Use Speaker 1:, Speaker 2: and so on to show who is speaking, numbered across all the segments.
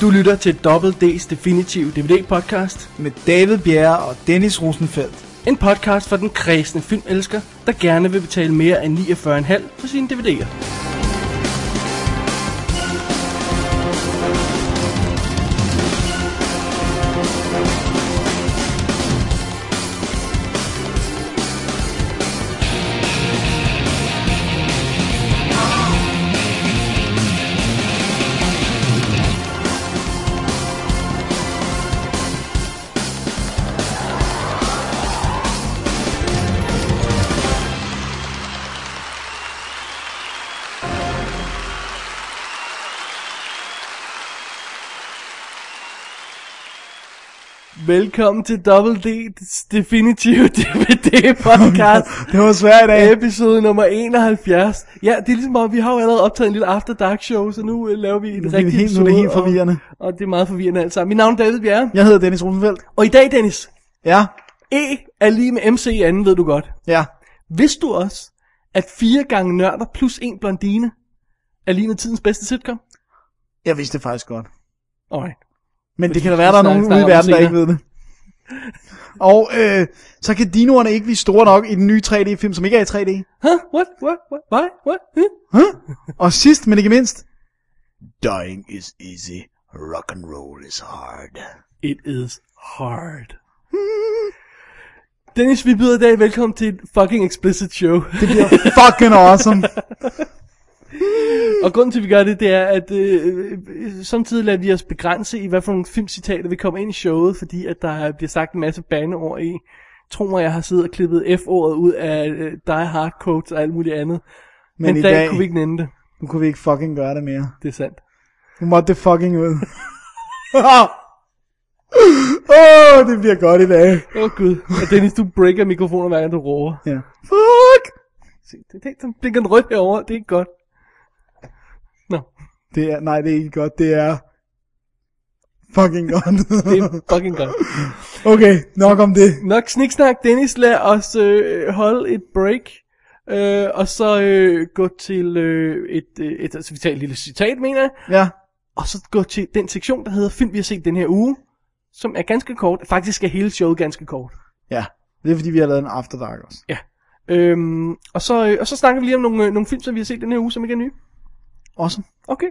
Speaker 1: Du lytter til Double D's Definitive DVD-podcast.
Speaker 2: med David Bjerre og Dennis Rosenfeldt.
Speaker 1: En podcast for den kredsende filmelsker, der gerne vil betale mere end 49,5 for sine DVD'er. Velkommen til Double D's Definitive DVD-podcast.
Speaker 2: Det var svært i dag.
Speaker 1: Episode nummer 71. Ja, det er ligesom om, vi har jo allerede optaget en lille After Dark show, så nu øh, laver vi et
Speaker 2: det
Speaker 1: rigtigt
Speaker 2: helt- nu er det helt forvirrende.
Speaker 1: Og, og det er meget forvirrende alt sammen. Mit navn er David Bjerre.
Speaker 2: Jeg hedder Dennis Rosenfeldt.
Speaker 1: Og i dag, Dennis,
Speaker 2: Ja,
Speaker 1: E er lige med MC i anden, ved du godt.
Speaker 2: ja.
Speaker 1: Vidste du også, at fire gange nørder plus en blondine er lige med tidens bedste sitcom?
Speaker 2: Jeg vidste det faktisk godt.
Speaker 1: Alright.
Speaker 2: Men det kan da være, der er
Speaker 1: snakker-
Speaker 2: nogen ude
Speaker 1: snakker
Speaker 2: i
Speaker 1: om
Speaker 2: verden,
Speaker 1: senere.
Speaker 2: der ikke ved det. Og øh, så kan dinoerne ikke blive store nok i den nye 3D-film, som ikke er i 3D.
Speaker 1: Huh? What? What? What? Why? What? Huh?
Speaker 2: Og sidst, men ikke mindst. Dying is easy. Rock and roll is hard.
Speaker 1: It is hard. Dennis, vi byder i dag velkommen til et fucking explicit show.
Speaker 2: Det bliver fucking awesome.
Speaker 1: Og grunden til, at vi gør det, det er, at øh, øh, samtidig lader vi os begrænse i, hvad for nogle filmcitater vi kommer ind i showet, fordi at der bliver sagt en masse bandeord i. Tro mig, jeg har siddet og klippet F-ordet ud af øh, Die Hard Quotes og alt muligt andet. Men, Men i dag, dag kunne vi ikke nænde det.
Speaker 2: nu kunne vi ikke fucking gøre det mere.
Speaker 1: Det er sandt.
Speaker 2: Nu måtte det fucking ud. Åh, oh, det bliver godt i dag.
Speaker 1: Åh oh, gud. Og Dennis, du breaker mikrofonen hver gang du råber.
Speaker 2: Ja. Fuck!
Speaker 1: Se, det, det, den blinker den rødt herovre. Det er ikke godt. Nå,
Speaker 2: Det er, nej, det er ikke godt. Det er fucking godt.
Speaker 1: det er fucking godt.
Speaker 2: okay, nok om det.
Speaker 1: Nok sniksnak, Dennis. Lad os øh, holde et break. Øh, og så øh, gå til øh, et, øh, et, altså vi tager et lille citat, mener jeg.
Speaker 2: Ja,
Speaker 1: Og så gå til den sektion, der hedder Film, vi har set den her uge. Som er ganske kort. Faktisk er hele showet ganske kort.
Speaker 2: ja. Det er fordi, vi har lavet en After Dark også.
Speaker 1: Ja. Øhm, og, så, øh, og så snakker vi lige om nogle, øh, nogle film, som vi har set den her uge, som ikke er nye.
Speaker 2: Awesome.
Speaker 1: Okay.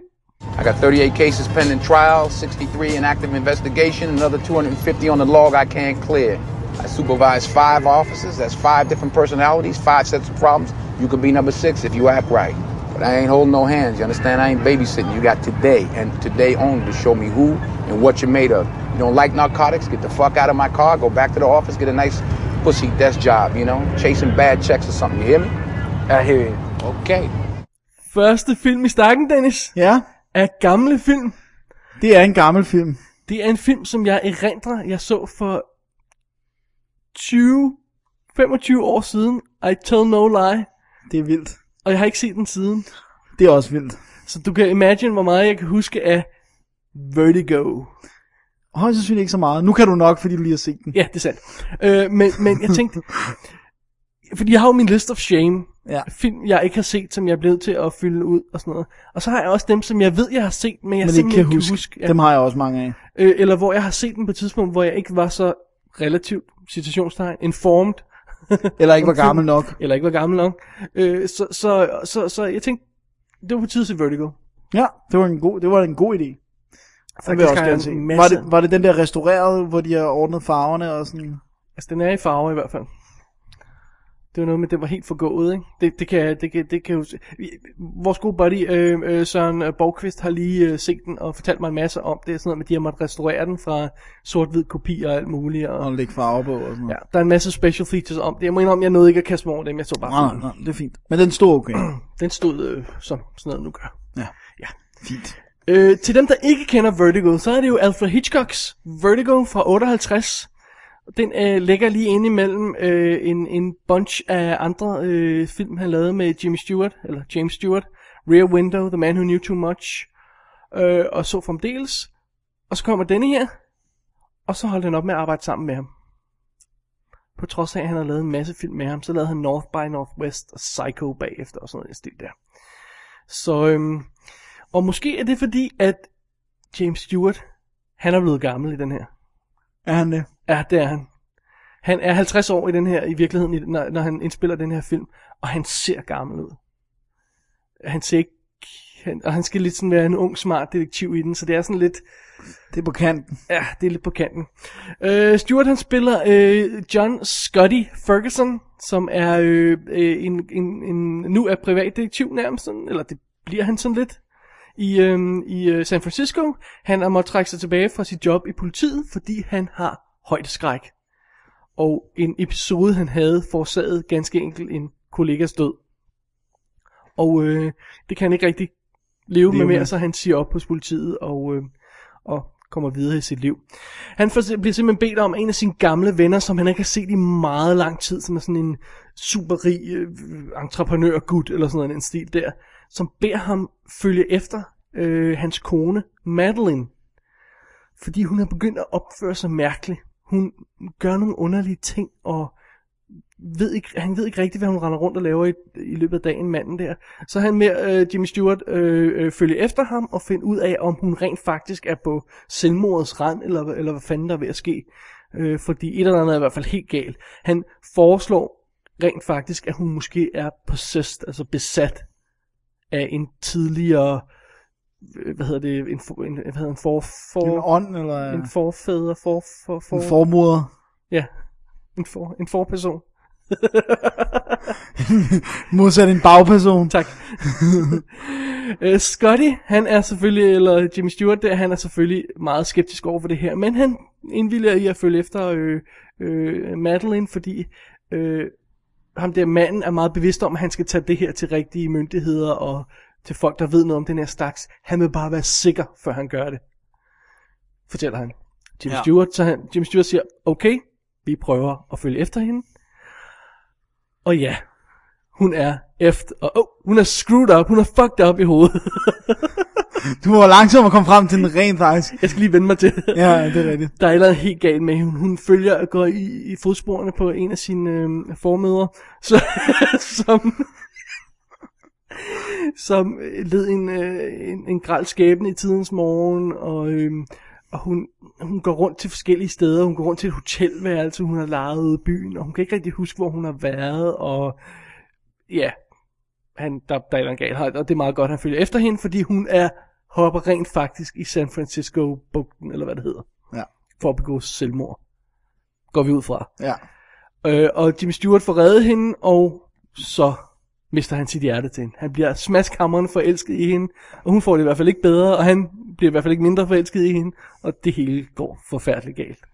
Speaker 3: I got 38 cases pending trial, 63 in active investigation, another 250 on the log I can't clear. I supervise five officers, that's five different personalities, five sets of problems. You could be number six if you act right. But I ain't holding no hands, you understand? I ain't babysitting. You got today and today only to show me who and what you're made of. You don't like narcotics? Get the fuck out of my car, go back to the office, get a nice pussy desk job, you know? Chasing bad checks or something, you hear me?
Speaker 4: I hear you.
Speaker 3: Okay.
Speaker 1: Første film i stakken, Dennis,
Speaker 2: Ja,
Speaker 1: er gamle film.
Speaker 2: det er en gammel film.
Speaker 1: Det er en film, som jeg erindrer, jeg så for 20, 25 år siden. I tell no lie.
Speaker 2: Det er vildt.
Speaker 1: Og jeg har ikke set den siden.
Speaker 2: Det er også vildt.
Speaker 1: Så du kan imagine, hvor meget jeg kan huske af Vertigo.
Speaker 2: Højst sandsynligt ikke så meget. Nu kan du nok, fordi du lige har set den.
Speaker 1: Ja, det er sandt. Øh, men, men jeg tænkte... Fordi jeg har jo min list of shame.
Speaker 2: Ja.
Speaker 1: Film, jeg ikke har set, som jeg er blevet til at fylde ud og sådan noget. Og så har jeg også dem, som jeg ved, jeg har set, men jeg
Speaker 2: Men ikke
Speaker 1: simpelthen
Speaker 2: kan huske.
Speaker 1: ja.
Speaker 2: Dem har jeg også mange af.
Speaker 1: øh, eller hvor jeg har set den på et tidspunkt, hvor jeg ikke var så relativt, citationstegn, informed,
Speaker 2: Eller ikke var gammel nok.
Speaker 1: eller ikke var gammel nok. Øh, så, så, så, så jeg tænkte, det var på tide at se Vertigo.
Speaker 2: Ja, det var en god, det var en god idé. Den vil jeg også
Speaker 1: har jeg
Speaker 2: gerne
Speaker 1: en
Speaker 2: se.
Speaker 1: masse-
Speaker 2: Var det, var det den der restaureret, hvor de har ordnet farverne og sådan?
Speaker 1: Altså, den er i farver i hvert fald. Det var noget med, at den var helt forgået, ikke? Det, det kan det kan, det kan jo... se- Vi- Vores gode buddy, øh, øh, Søren øh, Borgqvist, har lige øh, set den og fortalt mig en masse om det. Sådan noget med, at de har måttet restaurere den fra sort-hvid kopier og alt muligt. Og,
Speaker 2: Og lægge farver på og sådan
Speaker 1: ja,
Speaker 2: noget.
Speaker 1: der er en masse special features om det. Jeg må indrømme, jeg nåede ikke at kaste mig over dem. Jeg så bare
Speaker 2: Nej,
Speaker 1: filmen.
Speaker 2: nej, nej, det er fint. Men den stod okay.
Speaker 1: Den stod øh, som sådan noget nu gør.
Speaker 2: Ja.
Speaker 1: Ja.
Speaker 2: Fint.
Speaker 1: Øh, til dem, der ikke kender Vertigo, så er det jo Alfred Hitchcocks Vertigo fra 58. Den øh, ligger lige inde imellem øh, en, en bunch af andre øh, film, han lavede med Jimmy Stewart, eller James Stewart, Rear Window, The Man Who Knew Too Much, øh, og så fremdeles. Og så kommer denne her, og så holdt han op med at arbejde sammen med ham. På trods af, at han har lavet en masse film med ham, så lavede han North by Northwest og Psycho bagefter og sådan noget i den stil der. Så øhm, og måske er det fordi, at James Stewart, han er blevet gammel i den her.
Speaker 2: Er han det?
Speaker 1: Ja, det er han. Han er 50 år i den her, i virkeligheden, i- når, når han indspiller den her film, og han ser gammel ud. Han ser ikke, han, og han skal lidt sådan være en ung, smart detektiv i den, så det er sådan lidt,
Speaker 2: Det er på kanten.
Speaker 1: ja, det er lidt på kanten. Øh, Stewart han spiller øh, John Scotty Ferguson, som er øh, øh, en, en, en, nu er privatdetektiv nærmest, sådan, eller det bliver han sådan lidt, i, øh, i øh, San Francisco. Han har måttet trække sig tilbage fra sit job i politiet, fordi han har højdeskræk. Og en episode, han havde, forårsagede ganske enkelt en kollegas død. Og øh, det kan han ikke rigtig leve med
Speaker 2: Leve
Speaker 1: mere,
Speaker 2: med.
Speaker 1: så han siger op hos politiet og, øh, og kommer videre i sit liv. Han får, bliver simpelthen bedt om at en af sine gamle venner, som han ikke har set i meget lang tid, som er sådan en superrig øh, entreprenør-gut eller sådan noget, i den stil der, som beder ham følge efter øh, hans kone, Madeline. Fordi hun er begyndt at opføre sig mærkeligt. Hun gør nogle underlige ting, og ved ikke, han ved ikke rigtigt, hvad hun render rundt og laver i, i løbet af dagen, manden der. Så er han med øh, Jimmy Stewart øh, øh, følge efter ham og finde ud af, om hun rent faktisk er på selvmordets rand, eller, hvad- eller hvad fanden der er ved at ske. Øh, fordi et eller andet er i hvert fald helt galt. Han foreslår rent faktisk, at hun måske er possessed, altså besat af en tidligere, øh, hvad hedder det, en, for- en, hvad hedder en for, for,
Speaker 2: En ånd, eller
Speaker 1: en forfædre, for, for, for,
Speaker 2: en formoder.
Speaker 1: Ja, en, for, en forperson.
Speaker 2: Modsat en bagperson.
Speaker 1: Tak. Øh, Scotty, han er selvfølgelig, eller Jimmy Stewart der, han er selvfølgelig meget skeptisk over for det her, men han indvilliger i at følge efter øh, øh, Madeline, fordi øh, ham der manden er meget bevidst om, at han skal tage det her til rigtige myndigheder og til folk, der ved noget om den her slags. Han vil bare være sikker, før han gør det. Fortæller han. Jimmy
Speaker 2: Ja.
Speaker 1: ja. Stewart, så han, Jimmy Stewart siger, okay, vi prøver at følge efter hende. Og ja, hun er efter, og oh, hun er screwed up, hun er fucked up i hovedet.
Speaker 2: Du var langsom at komme frem til den rent faktisk.
Speaker 1: Jeg skal lige vende mig til.
Speaker 2: Ja, det er rigtigt.
Speaker 1: Der er et eller andet helt galt med hende. Hun følger og går i, i fodsporene på en af sine øh, formødre, så, som, som øh, led en, øh, en, en græld skæbne i tidens morgen, og, øh, og hun, hun går rundt til forskellige steder. Hun går rundt til et hotelværelse, hun har lejet ude i byen, og hun kan ikke rigtig huske, hvor hun har været, og ja, han, der, der er en gal, og det er meget godt, at han følger efter hende, fordi hun er hopper rent faktisk i San Francisco-bugten, eller hvad det hedder
Speaker 2: Ja.
Speaker 1: for at begå selvmord. Går vi ud fra.
Speaker 2: Ja.
Speaker 1: Øh, og Jimmy Stewart får reddet hende, og så mister han sit hjerte til hende. Han bliver smaskhammeren forelsket i hende, og hun får det i hvert fald ikke bedre, og han bliver i hvert fald ikke mindre forelsket i hende, og det hele går forfærdeligt galt.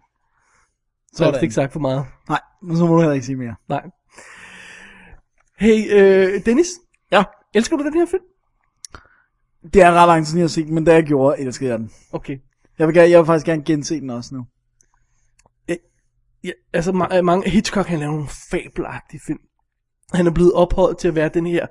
Speaker 1: Så har jeg vist ikke sagt for meget.
Speaker 2: Nej, men så må du heller ikke sige mere.
Speaker 1: Nej. Hey, øh, Dennis,
Speaker 2: Ja.
Speaker 1: elsker du den her film?
Speaker 2: Det er ret lang tid, siden, jeg har set den, men da jeg gjorde, elskede jeg den.
Speaker 1: Okay.
Speaker 2: Jeg vil, gerne, jeg vil faktisk gerne gense den også nu.
Speaker 1: Ja, altså ma- øh, mange, Hitchcock han laver nogle fabelagtige film. Han er blevet ophøjet til at være den her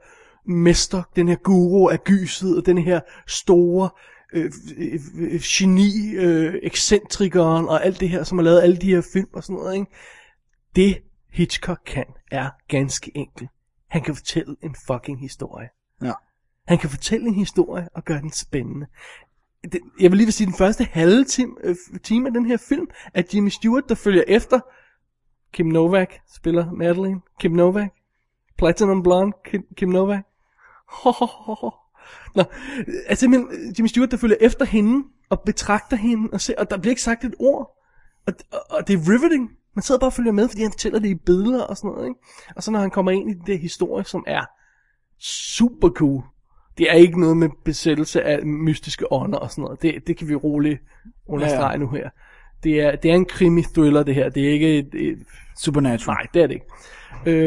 Speaker 1: mester, den her guru af gyset, og den her store øh, øh, øh, geni, øh, ekscentrikeren og alt det her, som har lavet alle de her film og sådan noget. Ikke? Det Hitchcock kan, er ganske enkelt. Han kan fortælle en fucking historie.
Speaker 2: Ja.
Speaker 1: Han kan fortælle en historie og gøre den spændende. Den, jeg vil lige vil sige, den første halve time, øh, time af den her film, er Jimmy Stewart, der følger efter Kim Novak, spiller Madeline. Kim Novak. Platinum Blonde, Kim, Kim Novak. Nå, øh, altså simpelthen øh, Jimmy Stewart, der følger efter hende, og betragter hende, og, ser, og der bliver ikke sagt et ord. Og, og, og det er riveting. Man sidder bare og følger med, fordi han fortæller det i billeder og sådan noget. Ikke? Og så når han kommer ind i den der historie, som er super cool. Det er ikke noget med besættelse af mystiske ånder og sådan noget. Det, det kan vi roligt understrege ja,
Speaker 2: Ja,
Speaker 1: ja.
Speaker 2: ja.
Speaker 1: nu her. Det er, det er en krimi-thriller, det her. Det er ikke et, et,
Speaker 2: Supernatural.
Speaker 1: Nej, det er det ikke.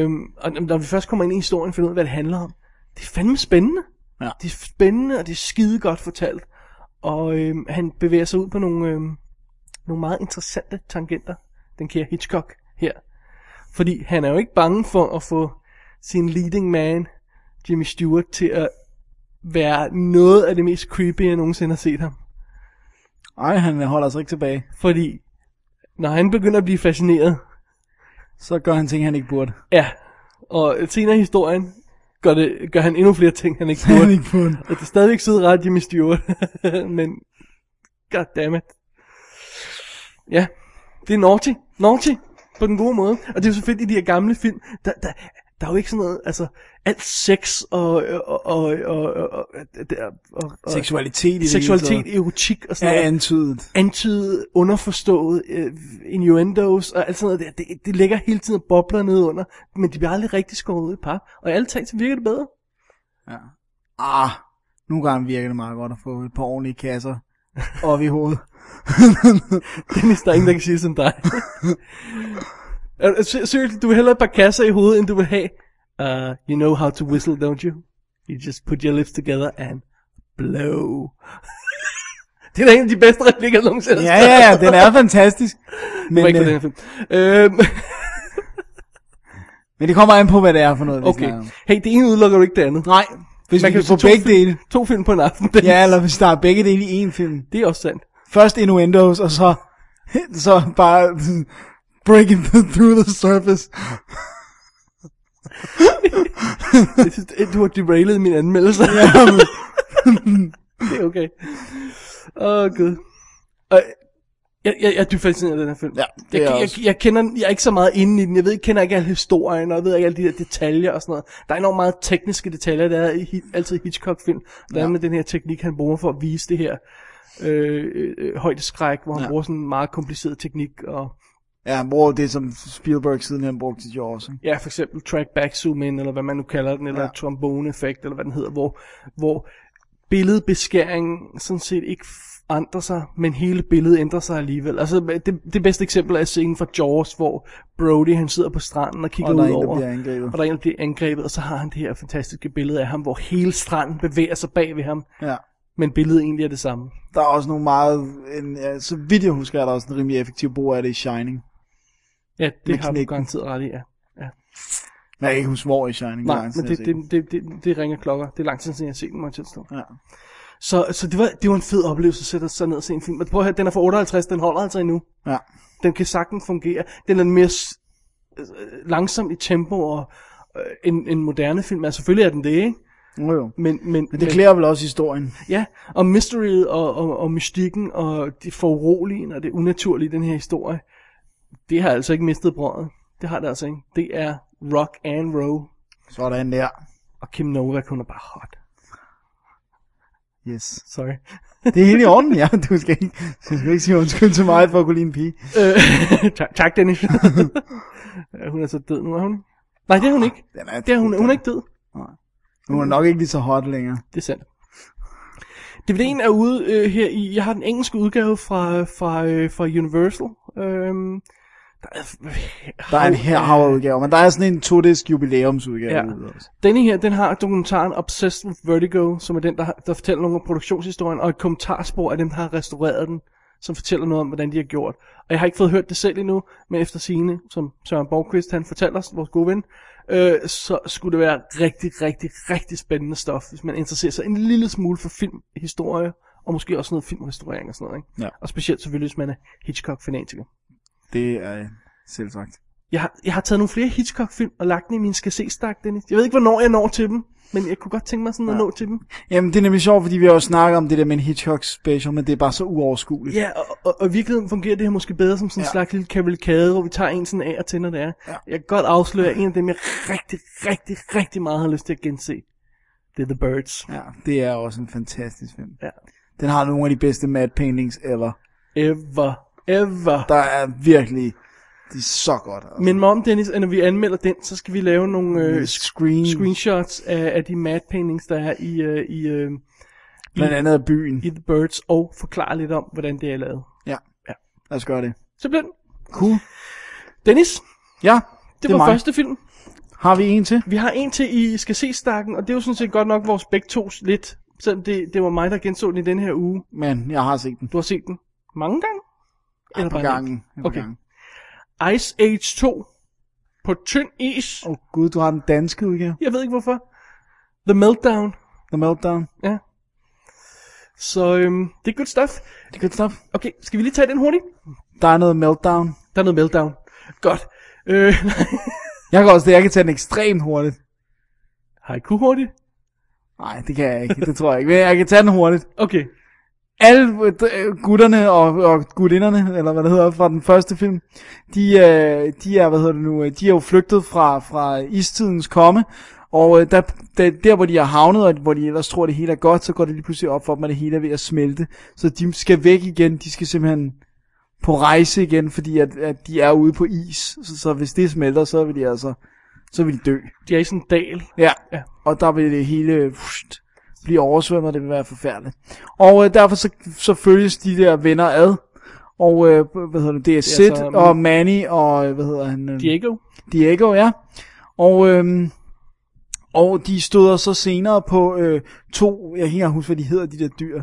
Speaker 1: Øhm, og når vi først kommer ind i historien og finder ud af, hvad det handler om, det er fandme spændende.
Speaker 2: Ja.
Speaker 1: Det er spændende, og det er skide godt fortalt. Og øhm, han bevæger sig ud på nogle, øhm, nogle meget interessante tangenter, den kære Hitchcock her. Fordi han er jo ikke bange for at få sin leading man, Jimmy Stewart, til at være noget af det mest creepy, jeg nogensinde har set ham.
Speaker 2: Nej, han holder sig ikke tilbage.
Speaker 1: Fordi når han begynder at blive fascineret,
Speaker 2: Så gør han ting, han ikke burde.
Speaker 1: Ja, og senere i historien gør, det, gør han endnu flere ting, han ikke
Speaker 2: Han
Speaker 1: burde.
Speaker 2: ikke burde.
Speaker 1: Og det er stadigvæk søde ret, Jimmy Stewart, men God damn it. Ja, det er Naughty. Naughty. På den gode måde. Og det er jo så fedt i de her gamle film. Der, der, der er jo ikke sådan noget, altså, alt sex og, og, og, og, og, og, og, og, og
Speaker 2: Seksualitet i det
Speaker 1: seksualitet,
Speaker 2: hele
Speaker 1: erotik og sådan
Speaker 2: taget er
Speaker 1: noget.
Speaker 2: antydet.
Speaker 1: Antydet, underforstået, øh, innuendos og alt sådan noget der. Det, det ligger hele tiden og bobler ned under, men de bliver aldrig rigtig skåret ud i par. Og i alle talt, så virker det bedre.
Speaker 2: Ah, nogle gange virker det meget godt at få et par ordentlige kasser op i hovedet.
Speaker 1: Dennis, der er ingen, der kan sige det som dig. Er du- ser- Seriously, du vil hellere et par kasser i hovedet, end du vil have. Uh, you know how to whistle, don't you? You just put your lips together and blow. det er da en af de bedste replikker, jeg nogensinde
Speaker 2: ja, ja, ja, den er fantastisk. Men,
Speaker 1: Men,
Speaker 2: øh,
Speaker 1: øh... film. Øhm,
Speaker 2: men det kommer an på, hvad det er for noget, vi
Speaker 1: okay.
Speaker 2: snakker om.
Speaker 1: Hey, det ene udelukker jo ikke det andet.
Speaker 2: Nej, hvis
Speaker 1: Man
Speaker 2: Man vi
Speaker 1: kan jo
Speaker 2: kan få
Speaker 1: se to
Speaker 2: begge
Speaker 1: film.
Speaker 2: dele.
Speaker 1: To film på en aften, Dennis.
Speaker 2: Ja, eller hvis der er begge dele i én film.
Speaker 1: Det er også sandt.
Speaker 2: Først innuendos, og så, så bare breaking through the surface.
Speaker 1: Jeg synes, det- du har derailet min anmeldelse. Ja.
Speaker 2: Jamen,
Speaker 1: det er okay. Åh, oh, gud. Og jeg, jeg, jeg er dybt fascineret af den her film.
Speaker 2: Ja, det er
Speaker 1: jeg,
Speaker 2: jeg
Speaker 1: jeg,
Speaker 2: også.
Speaker 1: jeg, jeg, kender, den- jeg er ikke så meget inde i den. Jeg ved, jeg kender ikke al historien, og jeg ved ikke alle de der detaljer og sådan noget. Der er enormt meget tekniske detaljer, der er i, hi- altid i Hitchcock-film. Der er med den her teknik, han bruger for at vise det her øh, øh, højdeskræk, hvor han ja.
Speaker 2: Ja.
Speaker 1: bruger sådan en meget kompliceret teknik. Og,
Speaker 2: ja, bror, det er som Spielberg siden han brugte til Jaws. Ikke?
Speaker 1: Ja, for eksempel track back zoom in, eller hvad man nu kalder den, eller ja.
Speaker 2: Ja.
Speaker 1: trombone-effekt, eller hvad den hedder, hvor, hvor billedbeskæringen sådan set ikke f- ændrer sig, men hele billedet ændrer sig alligevel. Altså, det, det bedste eksempel er scenen fra Jaws, hvor Brody han sidder på stranden og kigger
Speaker 2: Og der er
Speaker 1: ud
Speaker 2: en, der
Speaker 1: over,
Speaker 2: bliver angrebet.
Speaker 1: og der er en, der bliver angrebet, og så har han det her fantastiske billede af ham, hvor hele stranden bevæger sig bag ved ham,
Speaker 2: Ja.
Speaker 1: men billedet egentlig er det samme.
Speaker 2: Der er også nogle meget, en, ja, så vidt jeg husker, er der også en rimelig effektiv brug af det i Shining.
Speaker 1: Ja, det
Speaker 2: Med
Speaker 1: har du
Speaker 2: knægten.
Speaker 1: garanteret ret i, ja.
Speaker 2: Men jeg kan ikke huske, hvor i Shining. det er
Speaker 1: Nej,
Speaker 2: lang tid,
Speaker 1: men
Speaker 2: jeg
Speaker 1: det,
Speaker 2: har set
Speaker 1: det, det, det, det ringer klokker. Det er lang tid siden, jeg har set den, må jeg tilstå.
Speaker 2: den. Ja.
Speaker 1: Så, så det, var, det var en fed oplevelse at sætte sig ned og se en film. Men prøv at høre, den er fra 58, den holder altså endnu.
Speaker 2: ja.
Speaker 1: Den kan sagtens fungere. Den er mere s- øh, langsom i tempo og øh, en, en moderne film. Altså selvfølgelig er den det, ikke?
Speaker 2: Jo, jo.
Speaker 1: Men, men,
Speaker 2: Men det klæder vel også historien.
Speaker 1: Ja, og mysteryet og, og, og mystikken og det foruroligen og det unaturlige i den her historie, det har altså ikke mistet brødet. Det har det altså ikke. Det er rock and roll.
Speaker 2: Sådan der.
Speaker 1: Og Kim Novak, hun er bare hot.
Speaker 2: Yes.
Speaker 1: Sorry.
Speaker 2: Det er helt i orden, ja. Du skal ikke, du skal ikke sige undskyld til mig for at kunne lide en pige.
Speaker 1: Øh, tak, tak, Dennis. Ja, hun er så død nu, er hun ikke? Nej, det er hun ikke.
Speaker 2: Den er,
Speaker 1: Det er hun, hun er ikke død.
Speaker 2: hun er nok ikke lige så hot længere.
Speaker 1: Det er sandt. DVD'en er ude øh, her i... Jeg har den engelske udgave fra, fra, øh, fra Universal. Øhm, der er,
Speaker 2: Der er en her udgave, men der er sådan en to-disk jubilæumsudgave.
Speaker 1: Ja.
Speaker 2: ude også.
Speaker 1: Denne her, den har dokumentaren Obsessed with Vertigo, som er den, der, har- der fortæller nogle af produktionshistorien, og et kommentarspor af dem, der har restaureret den, som fortæller noget om, hvordan de har gjort. Og jeg har ikke fået hørt det selv endnu, men efter sine, som Søren Borgqvist, han fortæller os, vores gode ven, øh, så skulle det være rigtig, rigtig, rigtig spændende stof, hvis man interesserer sig en lille smule for filmhistorie, og måske også noget filmrestaurering og sådan noget. Ikke?
Speaker 2: Ja.
Speaker 1: Og specielt selvfølgelig, hvis man er Hitchcock-fanatiker.
Speaker 2: Det er øh, selv sagt.
Speaker 1: Jeg har, jeg har taget nogle flere Hitchcock-film og lagt dem i min skal se stak, Dennis. Jeg ved ikke, hvornår jeg når til dem, men jeg kunne godt tænke mig sådan at nå til dem.
Speaker 2: Jamen, det er nemlig sjovt, fordi vi har jo snakket om det der med en Hitchcock special, men det er bare så uoverskueligt.
Speaker 1: Ja, og, og, og i virkeligheden fungerer det her måske bedre som sådan en ja.
Speaker 2: Ja.
Speaker 1: slags lille kavalkade, hvor vi tager en sådan af og til, når det er. Ja. Jeg kan godt afsløre at en af dem, jeg rigtig, rigtig, rigtig meget har lyst til at gense. Det er The Birds.
Speaker 2: Ja, det er også en fantastisk film.
Speaker 1: Ja.
Speaker 2: Den har nogle af de bedste matte paintings ever.
Speaker 1: Ever. Ever.
Speaker 2: Der er virkelig... Det er så godt. Altså.
Speaker 1: Men om Dennis, at når vi anmelder den, så skal vi lave nogle øh, sk-
Speaker 2: screen,
Speaker 1: screenshots af, af de mad paintings, der er i, øh, i, øh,
Speaker 2: blandt andet af byen.
Speaker 1: i The Birds, og forklare lidt om, hvordan det er lavet.
Speaker 2: Ja.
Speaker 1: Ja.
Speaker 2: Lad os gøre det.
Speaker 1: Så bliver den.
Speaker 2: Cool.
Speaker 1: Dennis,
Speaker 2: Ja,
Speaker 1: Det,
Speaker 2: det
Speaker 1: det
Speaker 2: er
Speaker 1: var
Speaker 2: mig.
Speaker 1: første film.
Speaker 2: Har vi en til?
Speaker 1: Vi har en til i Skal se stakken, og det er jo sådan set godt nok vores begge tos lidt. Selvom det, det var mig, der genså den i den her uge.
Speaker 2: Men jeg har set den.
Speaker 1: Du har set den mange gange?
Speaker 2: Et par
Speaker 1: bare en
Speaker 2: gange. Et par
Speaker 1: Okay.
Speaker 2: gange.
Speaker 1: enkelt? Ice Age 2 på tynd is.
Speaker 2: Åh oh, gud, du har den danske udgave.
Speaker 1: Jeg ved ikke hvorfor. The Meltdown.
Speaker 2: The Meltdown.
Speaker 1: Ja. Så øhm, det er good stuff.
Speaker 2: Det er godt stuff.
Speaker 1: Okay, skal vi lige tage den hurtigt?
Speaker 2: Der er noget Meltdown.
Speaker 1: Der er noget Meltdown. Godt. Øh,
Speaker 2: Jeg kan også det, jeg kan tage den ekstremt hurtigt.
Speaker 1: har I kunne hurtigt?
Speaker 2: Nej, det kan jeg ikke. Det tror jeg ikke. Men jeg kan tage den hurtigt.
Speaker 1: Okay.
Speaker 2: alle øh, d- øh, gutterne og, og gutinderne, eller hvad det hedder, fra den første film, de, øh, de er, hvad hedder det nu, øh, de er jo flygtet fra, fra istidens komme, og øh, der, der, der, hvor de er havnet, og hvor de ellers tror, det hele er godt, så går det lige pludselig op for dem, at det hele er ved at smelte. Så de skal væk igen, de skal simpelthen på rejse igen, fordi at, at de er ude på is. Så, så hvis det smelter, så vil de altså så vil de dø.
Speaker 1: De er i sådan en dal.
Speaker 2: Ja.
Speaker 1: Ja.
Speaker 2: ja. Og der vil det hele pst, blive oversvømmet, og det vil være forfærdeligt. Og øh, derfor så, så følges de der venner ad. Og øh, hvad hedder det, det er Sid
Speaker 1: altså-
Speaker 2: og Manny og øh, hvad hedder han? Øh,
Speaker 1: Diego.
Speaker 2: Diego, ja. Og, øhm, og de støder så senere på øh, to, jeg kan ikke engang huske, hvad de hedder, de der dyr.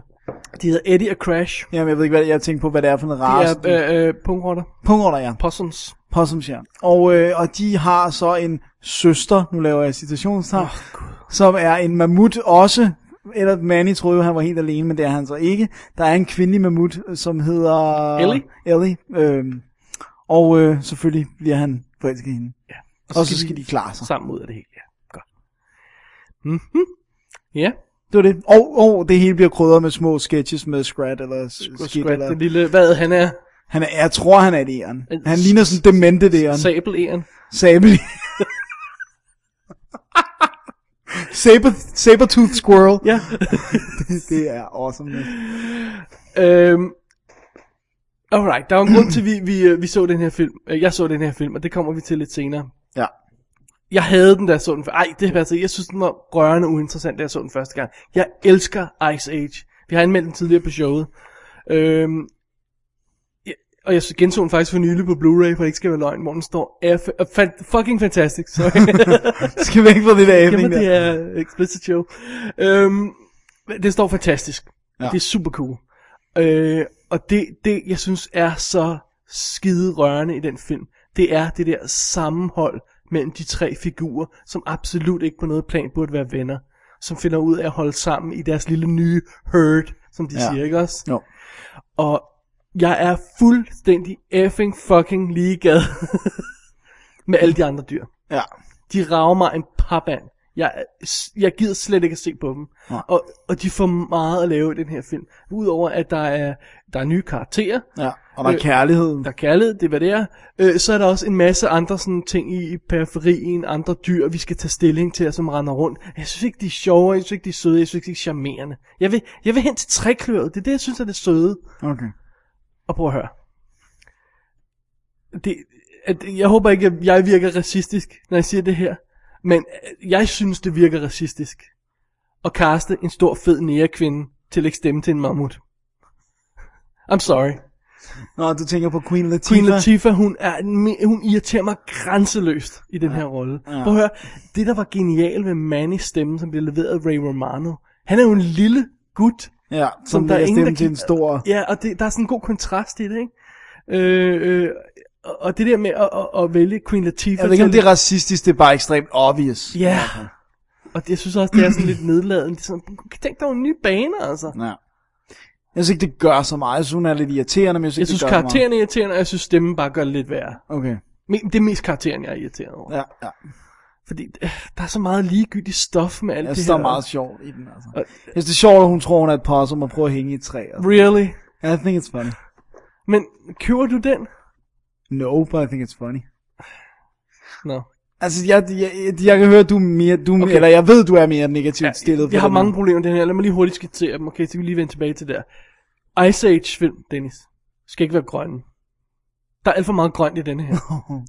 Speaker 1: De hedder Eddie og Crash.
Speaker 2: Jamen, jeg ved ikke, hvad jeg tænker på, hvad det er for en
Speaker 1: De
Speaker 2: race.
Speaker 1: er øh, øh, pungrotter.
Speaker 2: Pungrotter, ja.
Speaker 1: Possums.
Speaker 2: Possums, ja. Og, øh, og de har så en søster, nu laver jeg citationstegn, oh, som er en mammut også. Eller Manny troede jo, han var helt alene, men det er han så ikke. Der er en kvindelig mammut, som hedder...
Speaker 1: Ellie.
Speaker 2: Ellie. Øhm, og øh, selvfølgelig bliver han forelsket i hende.
Speaker 1: Ja.
Speaker 2: Og så skal de klare sig.
Speaker 1: sammen ud af det hele. Ja, godt. Mhm. Ja,
Speaker 2: Det var det. Og, og det hele bliver krydret med små sketches med Scrat eller
Speaker 1: og
Speaker 2: Skit.
Speaker 1: Scrat,
Speaker 2: eller...
Speaker 1: den lille, hvad han er,
Speaker 2: Han er, jeg tror, han er et æren.
Speaker 1: En
Speaker 2: Han
Speaker 1: s-
Speaker 2: ligner sådan en dementet æren.
Speaker 1: sabeleren.
Speaker 2: Sabel. Saber, Sabertooth Squirrel.
Speaker 1: Ja.
Speaker 2: Det er awesome. man.
Speaker 1: øhm, alright, der var en grund til, at vi, vi, øh, vi så den her film. Øh, Jeg så den her film, og det kommer vi til lidt senere.
Speaker 2: Ja.
Speaker 1: Jeg havde den, da jeg så den. før- Ej, det passer ikke. Jeg synes, den var rørende uinteressant, da jeg så den første gang. Jeg elsker Ice Age. Vi har anmeldt den tidligere på showet. Øhm, ja, og jeg genså den faktisk for nylig på Blu-ray, for det ikke skal være løgn, hvor den står F- fa- fucking fantastic. Sorry.
Speaker 2: Skal væk fra det der
Speaker 1: Jamen,
Speaker 2: æbning
Speaker 1: det
Speaker 2: der.
Speaker 1: er explicit show. Øhm, det står fantastisk. Ja. Det er super cool. Øh, og det, det, jeg synes, er så skide rørende i den film, det er det der sammenhold mellem de tre figurer, som absolut ikke på noget plan burde være venner, som finder ud af at holde sammen i deres lille nye herd, som de ja.
Speaker 2: Ja.
Speaker 1: siger, ikke også?
Speaker 2: Jo.
Speaker 1: Og jeg er fuldstændig effing fucking ligeglad med alle de andre dyr.
Speaker 2: Ja.
Speaker 1: De rager mig en papand. Jeg, jeg gider slet ikke at se på dem.
Speaker 2: Nej.
Speaker 1: Og, og de får meget at lave i den her film. Udover at der er, der er nye karakterer,
Speaker 2: ja. Og der er
Speaker 1: Øh,
Speaker 2: kærlighed.
Speaker 1: der er kærlighed, det er hvad det er. Øh, så er der også en masse andre sådan ting i periferien, andre dyr, vi skal tage stilling til, og som render rundt. Jeg synes ikke, de er sjove, jeg synes ikke, de er søde, jeg synes ikke, de er charmerende. Jeg vil, jeg vil hen til trækløret, det er det, jeg synes er det søde.
Speaker 2: Okay.
Speaker 1: Og prøv at høre. Det, at, jeg håber ikke, at jeg virker racistisk, når jeg siger det her. Men øh, jeg synes, det virker racistisk. At kaste en stor, fed nærekvinde til at lægge stemme til en mammut. I'm sorry.
Speaker 2: Nå, du tænker på Queen Latifah.
Speaker 1: Queen Latifah, hun, er, en me- hun irriterer mig grænseløst i den her rolle. Ja. Prøv at høre, det der var genialt ved Manny stemme, som blev leveret af Ray Romano. Han er jo en lille gut,
Speaker 2: Ja, som, som der er
Speaker 1: ingen,
Speaker 2: stemme
Speaker 1: der
Speaker 2: til en
Speaker 1: gider-
Speaker 2: stor... Altså,
Speaker 1: Ja, og det, der er sådan en god kontrast i det, ikke? Øh, øh, og- og det der med at, at, at vælge Queen Latifah...
Speaker 2: Jeg ved ikke, om
Speaker 1: til-
Speaker 2: det er racistisk, det er bare ekstremt obvious.
Speaker 1: Ja, og det, jeg synes også, det er sådan lidt nedladende. Det er sådan, tænk dig nogle nye baner, altså.
Speaker 2: ja. Jeg synes ikke, det gør så meget. Jeg synes, hun er lidt irriterende, men jeg synes,
Speaker 1: Jeg
Speaker 2: ikke,
Speaker 1: synes,
Speaker 2: det gør så meget.
Speaker 1: karakteren er irriterende, og jeg synes, stemmen bare gør det lidt værre.
Speaker 2: Okay.
Speaker 1: Men Det er mest karakteren, jeg er irriteret over. Ja.
Speaker 2: Ja, ja.
Speaker 1: Fordi øh, der er så meget ligegyldigt stof med alt
Speaker 2: Jeg
Speaker 1: det
Speaker 2: synes,
Speaker 1: her.
Speaker 2: der er meget sjovt i den, altså. Jeg synes, det er sjovt, at hun tror, hun er et possum og prøver at hænge i et træ. Altså.
Speaker 1: Really?
Speaker 2: I think it's funny.
Speaker 1: Men køber du den?
Speaker 2: No, but I think it's funny.
Speaker 1: Nå.
Speaker 2: Altså, jeg, jeg, jeg, jeg kan høre, at du er mere, du, okay. eller jeg ved, du er mere negativt ja, stillet.
Speaker 1: Jeg har
Speaker 2: den
Speaker 1: mange
Speaker 2: her.
Speaker 1: problemer med den her. Lad mig lige hurtigt skitsere dem. Okay, så vi lige vende tilbage til der. Ice Age film, Dennis, skal ikke være grønne. Der er alt for meget grønt i den her.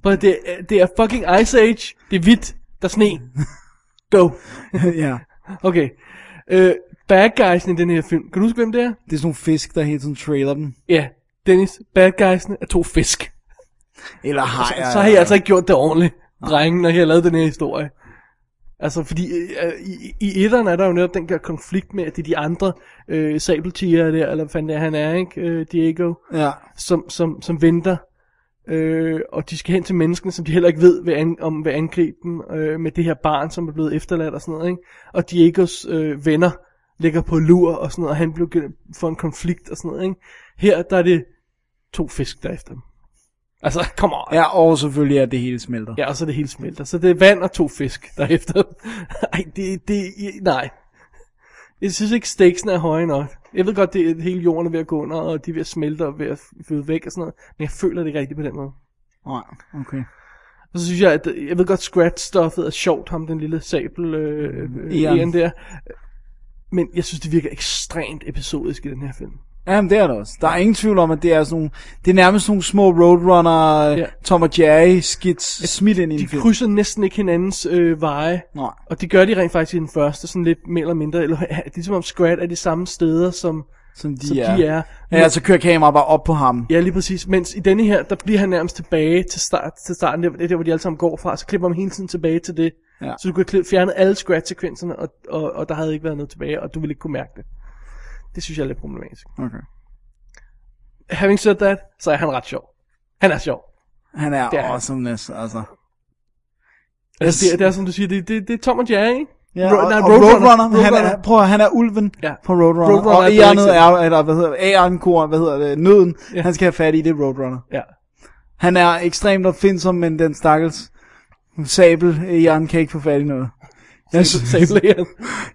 Speaker 1: For det, er- det er fucking Ice Age. Det er hvidt. Der er sne. Go.
Speaker 2: ja,
Speaker 1: Okay. Øh, bad guysene i den her film. Kan du huske, hvem det er?
Speaker 2: det er sådan nogle fisk, der hele tiden trailer dem.
Speaker 1: Ja. Dennis, bad guysene er to fisk.
Speaker 2: Eller har
Speaker 1: Så, så har jeg altså ikke gjort det ordentligt, drengen, når jeg har lavet den her historie. Altså, fordi øh, i, i etteren er der jo netop den der konflikt med, at det er de andre øh, sabeltiger der, eller hvad fanden det er, han er, ikke? Øh, Diego,
Speaker 2: Ja,
Speaker 1: som, som, som venter. Øh, og de skal hen til menneskene, som de heller ikke ved, vil an, om vil angribe dem, øh, med det her barn, som er blevet efterladt og sådan noget, ikke? Og Diegos øh, venner ligger på lur og sådan noget, og han blev, får en konflikt og sådan noget, ikke? Her, der er det to fisk, der er efter dem. Altså, come on.
Speaker 2: ja, og selvfølgelig er det hele smelter.
Speaker 1: Ja, og så er det hele smelter. Så det er vand og to fisk derefter. Ej, det, det, nej. Jeg synes ikke, stakesen er høje nok. Jeg ved godt, det er, hele jorden er ved at gå under, og de er ved at smelte og ved at flyde væk og sådan noget. Men jeg føler det ikke rigtigt på den måde.
Speaker 2: Nej, okay.
Speaker 1: Og så synes jeg, at jeg ved godt, Scratch-stoffet er sjovt, ham den lille sabel øh, øh,
Speaker 2: Egon.
Speaker 1: Egon der. Men jeg synes, det virker ekstremt episodisk i den her film.
Speaker 2: Jamen, det er det også. Der er ingen tvivl om, at det er sådan nogle, det er nærmest nogle små Roadrunner,
Speaker 1: Ja.
Speaker 2: ja. Tom og Jerry skits smidt ind i en
Speaker 1: De
Speaker 2: film.
Speaker 1: krydser næsten ikke hinandens øh, veje.
Speaker 2: Nej.
Speaker 1: Og det gør de rent faktisk i den første, sådan lidt mere eller mindre. Eller, det er som om Scrat er de samme steder, som,
Speaker 2: Som de
Speaker 1: som
Speaker 2: er.
Speaker 1: de er. Men-
Speaker 2: Ja, så kører kameraet bare op på ham.
Speaker 1: Ja, lige præcis. Mens i denne her, der bliver han nærmest tilbage til, start, til starten, der, der, hvor de alle sammen går fra, så klipper man hele tiden tilbage til det.
Speaker 2: Ja.
Speaker 1: Så du kunne have kli- fjernet alle scratch-sekvenserne, og, og, og der havde ikke været noget tilbage, og du ville ikke kunne mærke det. Det synes jeg er lidt problematisk.
Speaker 2: Okay.
Speaker 1: Having said that, så er han ret sjov. Han er sjov.
Speaker 2: Han er,
Speaker 1: Det er
Speaker 2: er
Speaker 1: han.
Speaker 2: awesomeness, altså.
Speaker 1: Altså, det, er- det er som du siger, det, det, det er Tom og Jerry, ikke?
Speaker 2: Ja,
Speaker 1: Ro-
Speaker 2: og,
Speaker 1: nej,
Speaker 2: og Roadrunner, Roadrunner, han
Speaker 1: Roadrunner.
Speaker 2: er, prøv at, han er ulven
Speaker 1: Ja.
Speaker 2: ja. på Roadrunner.
Speaker 1: Roadrunner er
Speaker 2: og
Speaker 1: bedre
Speaker 2: Egernet
Speaker 1: eksempel.
Speaker 2: er, eller hvad hedder Ærenkor, hvad hedder det, nøden, ja. han skal have fat i, det er Roadrunner.
Speaker 1: Ja.
Speaker 2: Han er ekstremt opfindsom, men den stakkels sabel, Æren kan ikke få fat i noget. Jeg synes,
Speaker 1: Sabler.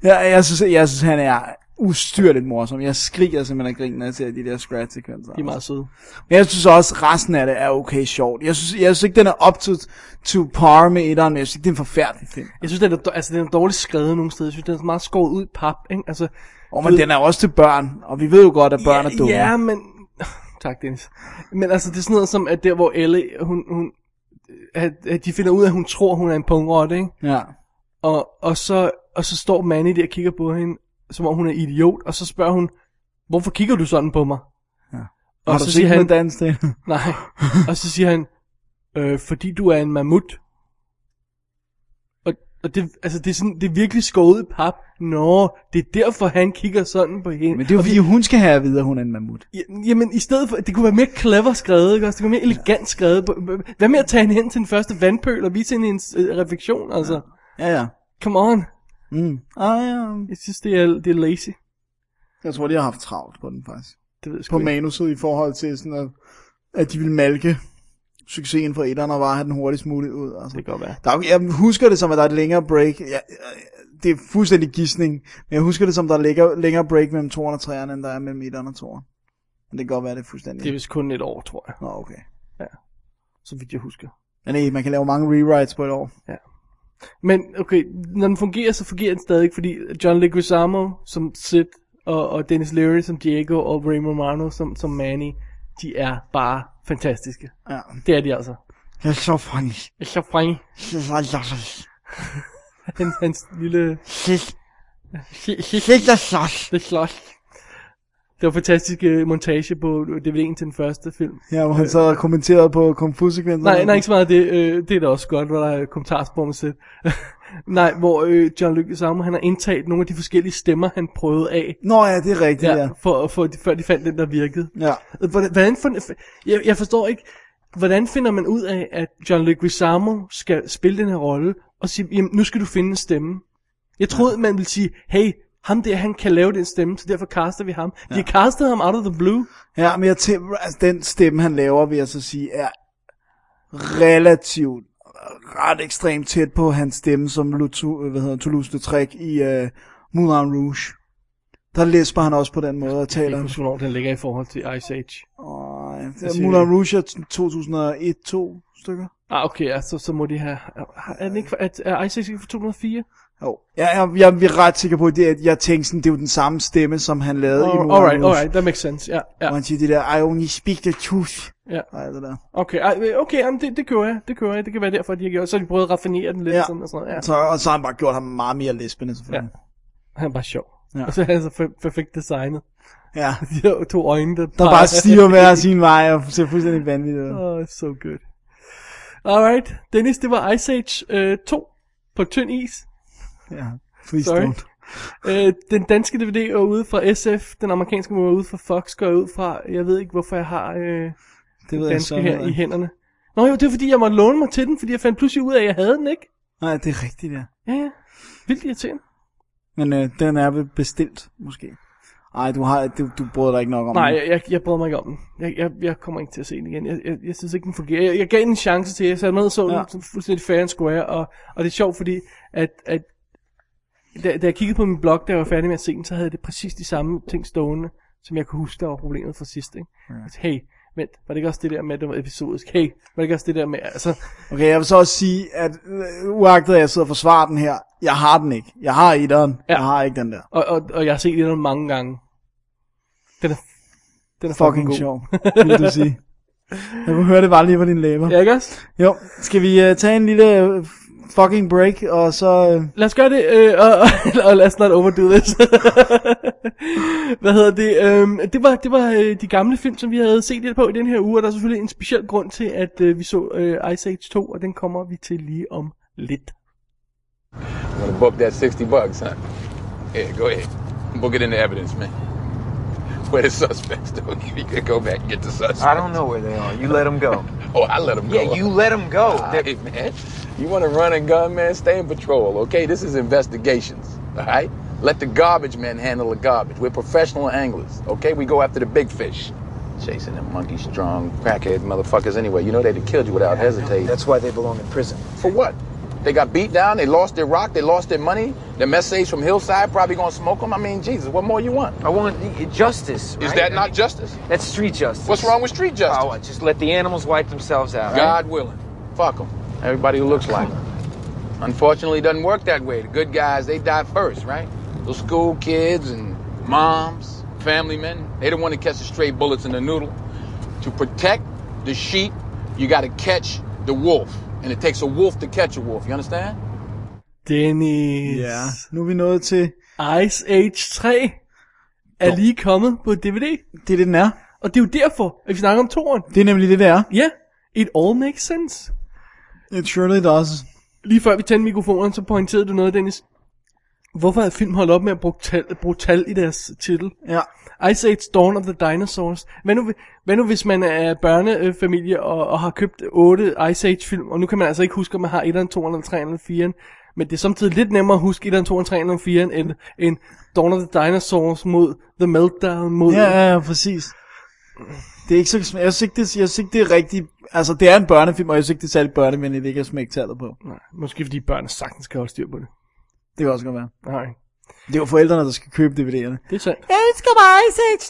Speaker 2: jeg, jeg, synes, jeg synes, han er ustyrligt morsom. Jeg skriger simpelthen af grin, når jeg ser de der scratch-sekvenser.
Speaker 1: De er meget søde.
Speaker 2: Men jeg synes også, resten af det er okay sjovt. Jeg synes, jeg synes ikke, den er up to, to par med etteren, men jeg synes ikke, det er en forfærdelig film.
Speaker 1: Jeg synes, den er, dår- altså, den er dårligt skrevet nogle steder. Jeg synes, den er så meget skåret ud i pap, ikke? Altså,
Speaker 2: Og men den er også til børn, og vi ved jo godt, at børn er dumme.
Speaker 1: Ja, ja, men... Tak, Dennis. Men altså, det er sådan noget som, at der, hvor Elle, hun... hun at, at de finder ud af, at hun tror, hun er en pungrotte, ikke?
Speaker 2: ja.
Speaker 1: Og, og, så, og så står Manny der og kigger på hende, som om hun er idiot, og så spørger hun, hvorfor kigger du sådan på mig?
Speaker 2: Og
Speaker 1: Og
Speaker 2: Har
Speaker 1: så
Speaker 2: du
Speaker 1: siger
Speaker 2: set
Speaker 1: han,
Speaker 2: han... dans det?
Speaker 1: nej. og så siger han, øh, fordi du er en mammut. Og, og det, altså, det, er sådan, det er virkelig skåret i pap. Nå, det er derfor, han kigger sådan på hende.
Speaker 2: Men det er jo fordi, hun skal have at vide, at hun er en mammut.
Speaker 1: Ja, Jamen, i stedet for, det kunne være mere clever skrevet, ikke også? Det kunne være mere elegant skrevet. Hvad med at tage hende hen til den første vandpøl og vise hende hendes øh, refleksion, altså?
Speaker 2: Ja, ja.
Speaker 1: Come on.
Speaker 2: Mm. Ah, ja.
Speaker 1: Jeg synes, det er, det er lazy.
Speaker 2: Jeg tror, de har haft travlt på den faktisk.
Speaker 1: Det ved jeg sgu
Speaker 2: På
Speaker 1: ikke.
Speaker 2: manuset i forhold til sådan, at, at de ville malke succesen fra etteren og bare have den hurtigst muligt ud. Altså.
Speaker 1: Det kan godt være.
Speaker 2: Der, er- jeg husker det som, at der er et længere break. Jeg, jeg- det er fuldstændig gissning, men jeg husker det som, der er længere, længere break mellem 2'eren og 3'eren, end der er mellem 1'eren og 2'eren. Men det kan godt være, det er fuldstændig...
Speaker 1: Det er vist kun et år, tror jeg,
Speaker 2: Nå, okay.
Speaker 1: så vidt jeg husker.
Speaker 2: Men nej, man kan lave mange rewrites på et år.
Speaker 1: Men okay, når den fungerer, så fungerer den stadig, fordi John Leguizamo som Sid, og, og Dennis Leary som Diego, og Ray Romano som, som Manny, de er bare fantastiske.
Speaker 2: Ja.
Speaker 1: Det er de altså.
Speaker 2: Det er så funny.
Speaker 1: Jeg er så fræng.
Speaker 2: Det er så funny.
Speaker 1: Hans, hans lille...
Speaker 2: Lidt af slås.
Speaker 1: Det slås. Det var en fantastisk øh, montage på DVD'en til den første film.
Speaker 2: Ja, hvor han sad og kommenterede på Kung Fu sekvensen.
Speaker 1: Nej, nej, ikke så meget af det. Øh, det er da også godt, hvor der er kommentarspor med sæt. nej, hvor øh, John Leguizamo, han har indtaget nogle af de forskellige stemmer, han prøvede af.
Speaker 2: Nå ja, det er rigtigt, ja.
Speaker 1: For, for, de, før de fandt den, der virkede.
Speaker 2: Ja,
Speaker 1: Hvordan, hvordan for, jeg, jeg forstår ikke, hvordan finder man ud af, at John Leguizamo skal spille den her rolle, og sige, jamen, nu skal du finde en stemme. Jeg troede, man ville sige, hey, ham der, han kan lave den stemme, så derfor caster vi ham. De har castet ham out of the blue.
Speaker 2: ja. men jeg tænker, altså, den stemme, han laver, vil jeg så sige, er relativt ret ekstremt tæt på hans stemme som Lutu, øh, hvad hedder, Toulouse Lautrec i uh, Moulin Rouge. Der læsper han også på den måde og
Speaker 1: Jeg
Speaker 2: taler.
Speaker 1: kan huske, hvornår den ligger i forhold til Ice Age.
Speaker 2: Åh, det
Speaker 1: Jeg
Speaker 2: er
Speaker 1: siger
Speaker 2: Moulin Rouge er 2001-2 stykker.
Speaker 1: Ah, okay, ja, så, så må de have... er- Er, den ikke, fra- er, er Ice Age ikke fra 204?
Speaker 2: Jo. Jeg, jeg, jeg er ret sikker på, at det, at jeg tænkte sådan, det er jo den samme stemme, som han lavede i
Speaker 1: All,
Speaker 2: Moulin
Speaker 1: alright,
Speaker 2: Rouge.
Speaker 1: alright, that makes sense. Ja, ja,
Speaker 2: Hvor han siger det der, I only speak the truth.
Speaker 1: ja.
Speaker 2: Ej, det der.
Speaker 1: Okay, ej, okay jamen, det, det kører jeg, det kører jeg. Det kan være derfor, de har gjort. Så har de prøvet at raffinere den lidt,
Speaker 2: Ja.
Speaker 1: sådan og sådan noget. Ja.
Speaker 2: Så, og så har han bare gjort ham meget mere lesbende, selvfølgelig.
Speaker 1: Han er bare sjov. Ja.
Speaker 2: Ja.
Speaker 1: Og så er han så per- perfekt designet.
Speaker 2: Ja. ja.
Speaker 1: De her to øjne, der,
Speaker 2: Der bare stiger hver sin vej og ser fuldstændig vanvittigt ud.
Speaker 1: Oh, so good. Alright, Dennis, det var Ice Age øh, 2 på tynd is.
Speaker 2: Ja. Please
Speaker 1: Sorry.
Speaker 2: don't.
Speaker 1: Øh, den danske DVD er ude fra SF, den amerikanske var ude fra Fox, går jeg ud fra. Jeg ved ikke, hvorfor jeg har øh,
Speaker 2: Det
Speaker 1: den
Speaker 2: ved jeg så.
Speaker 1: danske her i
Speaker 2: ikke.
Speaker 1: hænderne. Nå jo, det er fordi, jeg måtte låne mig til den, fordi jeg fandt pludselig ud af, at jeg havde den, ikke?
Speaker 2: Nej, det er rigtigt, ja.
Speaker 1: Ja, ja. Vildt irriterende.
Speaker 2: Men øh, den er vel bestilt, måske. Ej, du, har, du, du bryder dig ikke nok om
Speaker 1: Nej,
Speaker 2: den.
Speaker 1: jeg, jeg, jeg bryder mig ikke om den. Jeg, jeg, jeg kommer ikke til at se den igen. Jeg, jeg, jeg synes ikke, den fungerer. Jeg, jeg gav den en chance til, jeg satte mig ned og så den
Speaker 2: Ja.
Speaker 1: ja. fuldstændig fair and square, og, og det er sjovt, fordi at, at da, da jeg kiggede på min blog, da jeg var færdig med at se den, så havde jeg det præcis de samme ting stående, som jeg kunne huske, der var problemet fra sidst. Ikke? Ja. Altså, hey, vent, var det ikke også det der med, at det var episodisk? Hey, var det ikke også det der med, altså...
Speaker 2: Okay, jeg vil så også sige, at øh, uagtet at jeg sidder og forsvarer den her, jeg har den ikke. Jeg har etteren, ja.
Speaker 1: Ja.
Speaker 2: jeg har ikke den der.
Speaker 1: Og, og, og jeg har set det mange gange. Den er, den er fucking,
Speaker 2: Fucking
Speaker 1: god.
Speaker 2: sjov, vil du sige. Jeg kunne høre, det var lige på dine læber.
Speaker 1: Ja, ikke også?
Speaker 2: Jo, skal vi uh, tage en lille uh, fucking break, og så... Uh,
Speaker 1: Lad os gøre det, øh, og, og, og let's not overdo this. Hvad hedder det? Øhm, det var, det var øh, de gamle film, som vi havde set lidt på i den her uge, og der er selvfølgelig en speciel grund til, at øh, vi så øh, Ice Age 2, og den kommer vi til lige om lidt.
Speaker 3: I'm gonna book that 60 bucks, huh? Yeah, go ahead. Book it into evidence, man. Where the suspects, though? You could go back and get the suspects.
Speaker 4: I don't know where they are. You let them go. Ah,
Speaker 3: Oh, I let them go.
Speaker 4: Yeah, you let them go.
Speaker 3: All
Speaker 4: They're-
Speaker 3: right, man. You want to run and gun, man? Stay in patrol, okay? This is investigations, all right? Let the garbage men handle the garbage. We're professional anglers, okay? We go after the big fish. Chasing them monkey strong, crackhead motherfuckers anyway. You know they'd have killed you without hesitating.
Speaker 4: That's why they belong in prison.
Speaker 3: For what? They got beat down, they lost their rock, they lost their money. The messages from Hillside probably gonna smoke them. I mean, Jesus, what more you want?
Speaker 4: I want i- justice.
Speaker 3: Is
Speaker 4: right?
Speaker 3: that not justice?
Speaker 4: That's street justice.
Speaker 3: What's wrong with street justice?
Speaker 4: Oh, just let the animals wipe themselves out. right?
Speaker 3: God willing. Fuck them. Everybody who looks like 'em. Unfortunately, it doesn't work that way. The good guys, they die first, right? Those school kids and moms, family men, they don't want to catch the stray bullets in the noodle. To protect the sheep, you got to catch the wolf. And it takes a wolf to catch a wolf. You understand?
Speaker 1: Dennis.
Speaker 2: nu er vi nået til...
Speaker 1: Ice Age 3 er lige kommet på DVD,
Speaker 2: Det er det, den er.
Speaker 1: og det er jo derfor, at vi snakker om toren.
Speaker 2: Det er nemlig det, det er.
Speaker 1: Ja, it all makes sense.
Speaker 2: It surely does.
Speaker 1: Lige før vi tændte mikrofonen, så pointerede du noget, Dennis. Hvorfor havde film holdt op med at bruge tal, bruge tal i deres titel?
Speaker 2: Ja.
Speaker 1: Ice Age Dawn of the Dinosaurs. Hvad nu, hvi- hvad nu hvis man er børnefamilie og, og har købt otte Ice Age film, og nu kan man altså ikke huske, om man har 1, 2, 3 eller 4. Men det er samtidig lidt nemmere at huske 1, 2, 3 eller 4 end, end Dawn of the Dinosaurs mod The Meltdown mod...
Speaker 2: Ja, ja, ja, præcis. Det er ikke så, sm- jeg synes ikke, det, jeg synes ikke, det er rigtigt, altså det er en børnefilm, og jeg synes ikke, det er særlig børnevenligt, ikke at smække tallet på.
Speaker 1: Nej, måske fordi børn sagtens kan holde styr på det.
Speaker 2: Det kan også godt være.
Speaker 1: Nej,
Speaker 2: Det er jo forældrene, der skal købe DVD'erne.
Speaker 1: det er sandt.
Speaker 2: Jeg elsker mig, Ice Age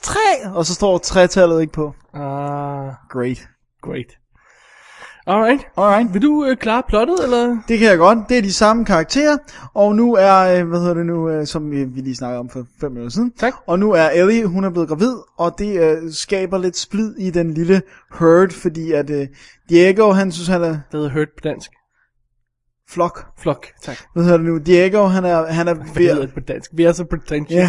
Speaker 2: 3! Og så står tretallet ikke på.
Speaker 1: Ah, uh,
Speaker 2: Great.
Speaker 1: great. Alright.
Speaker 2: Alright.
Speaker 1: Vil du øh, klare plottet, eller?
Speaker 2: Det kan jeg godt. Det er de samme karakterer, og nu er, øh, hvad hedder det nu, øh, som vi vi lige snakkede om for fem minutter siden.
Speaker 1: Tak.
Speaker 2: Og nu er Ellie, hun er blevet gravid, og det øh, skaber lidt splid i den lille herd, fordi at øh, Diego, han synes, han er
Speaker 1: Det hedder Hurt på dansk.
Speaker 2: flok.
Speaker 1: Flok, tak.
Speaker 2: Hvad hedder det nu? Diego, han er, han er
Speaker 1: Hvad hedder det på dansk? Vi er så pretentious.
Speaker 2: Ja,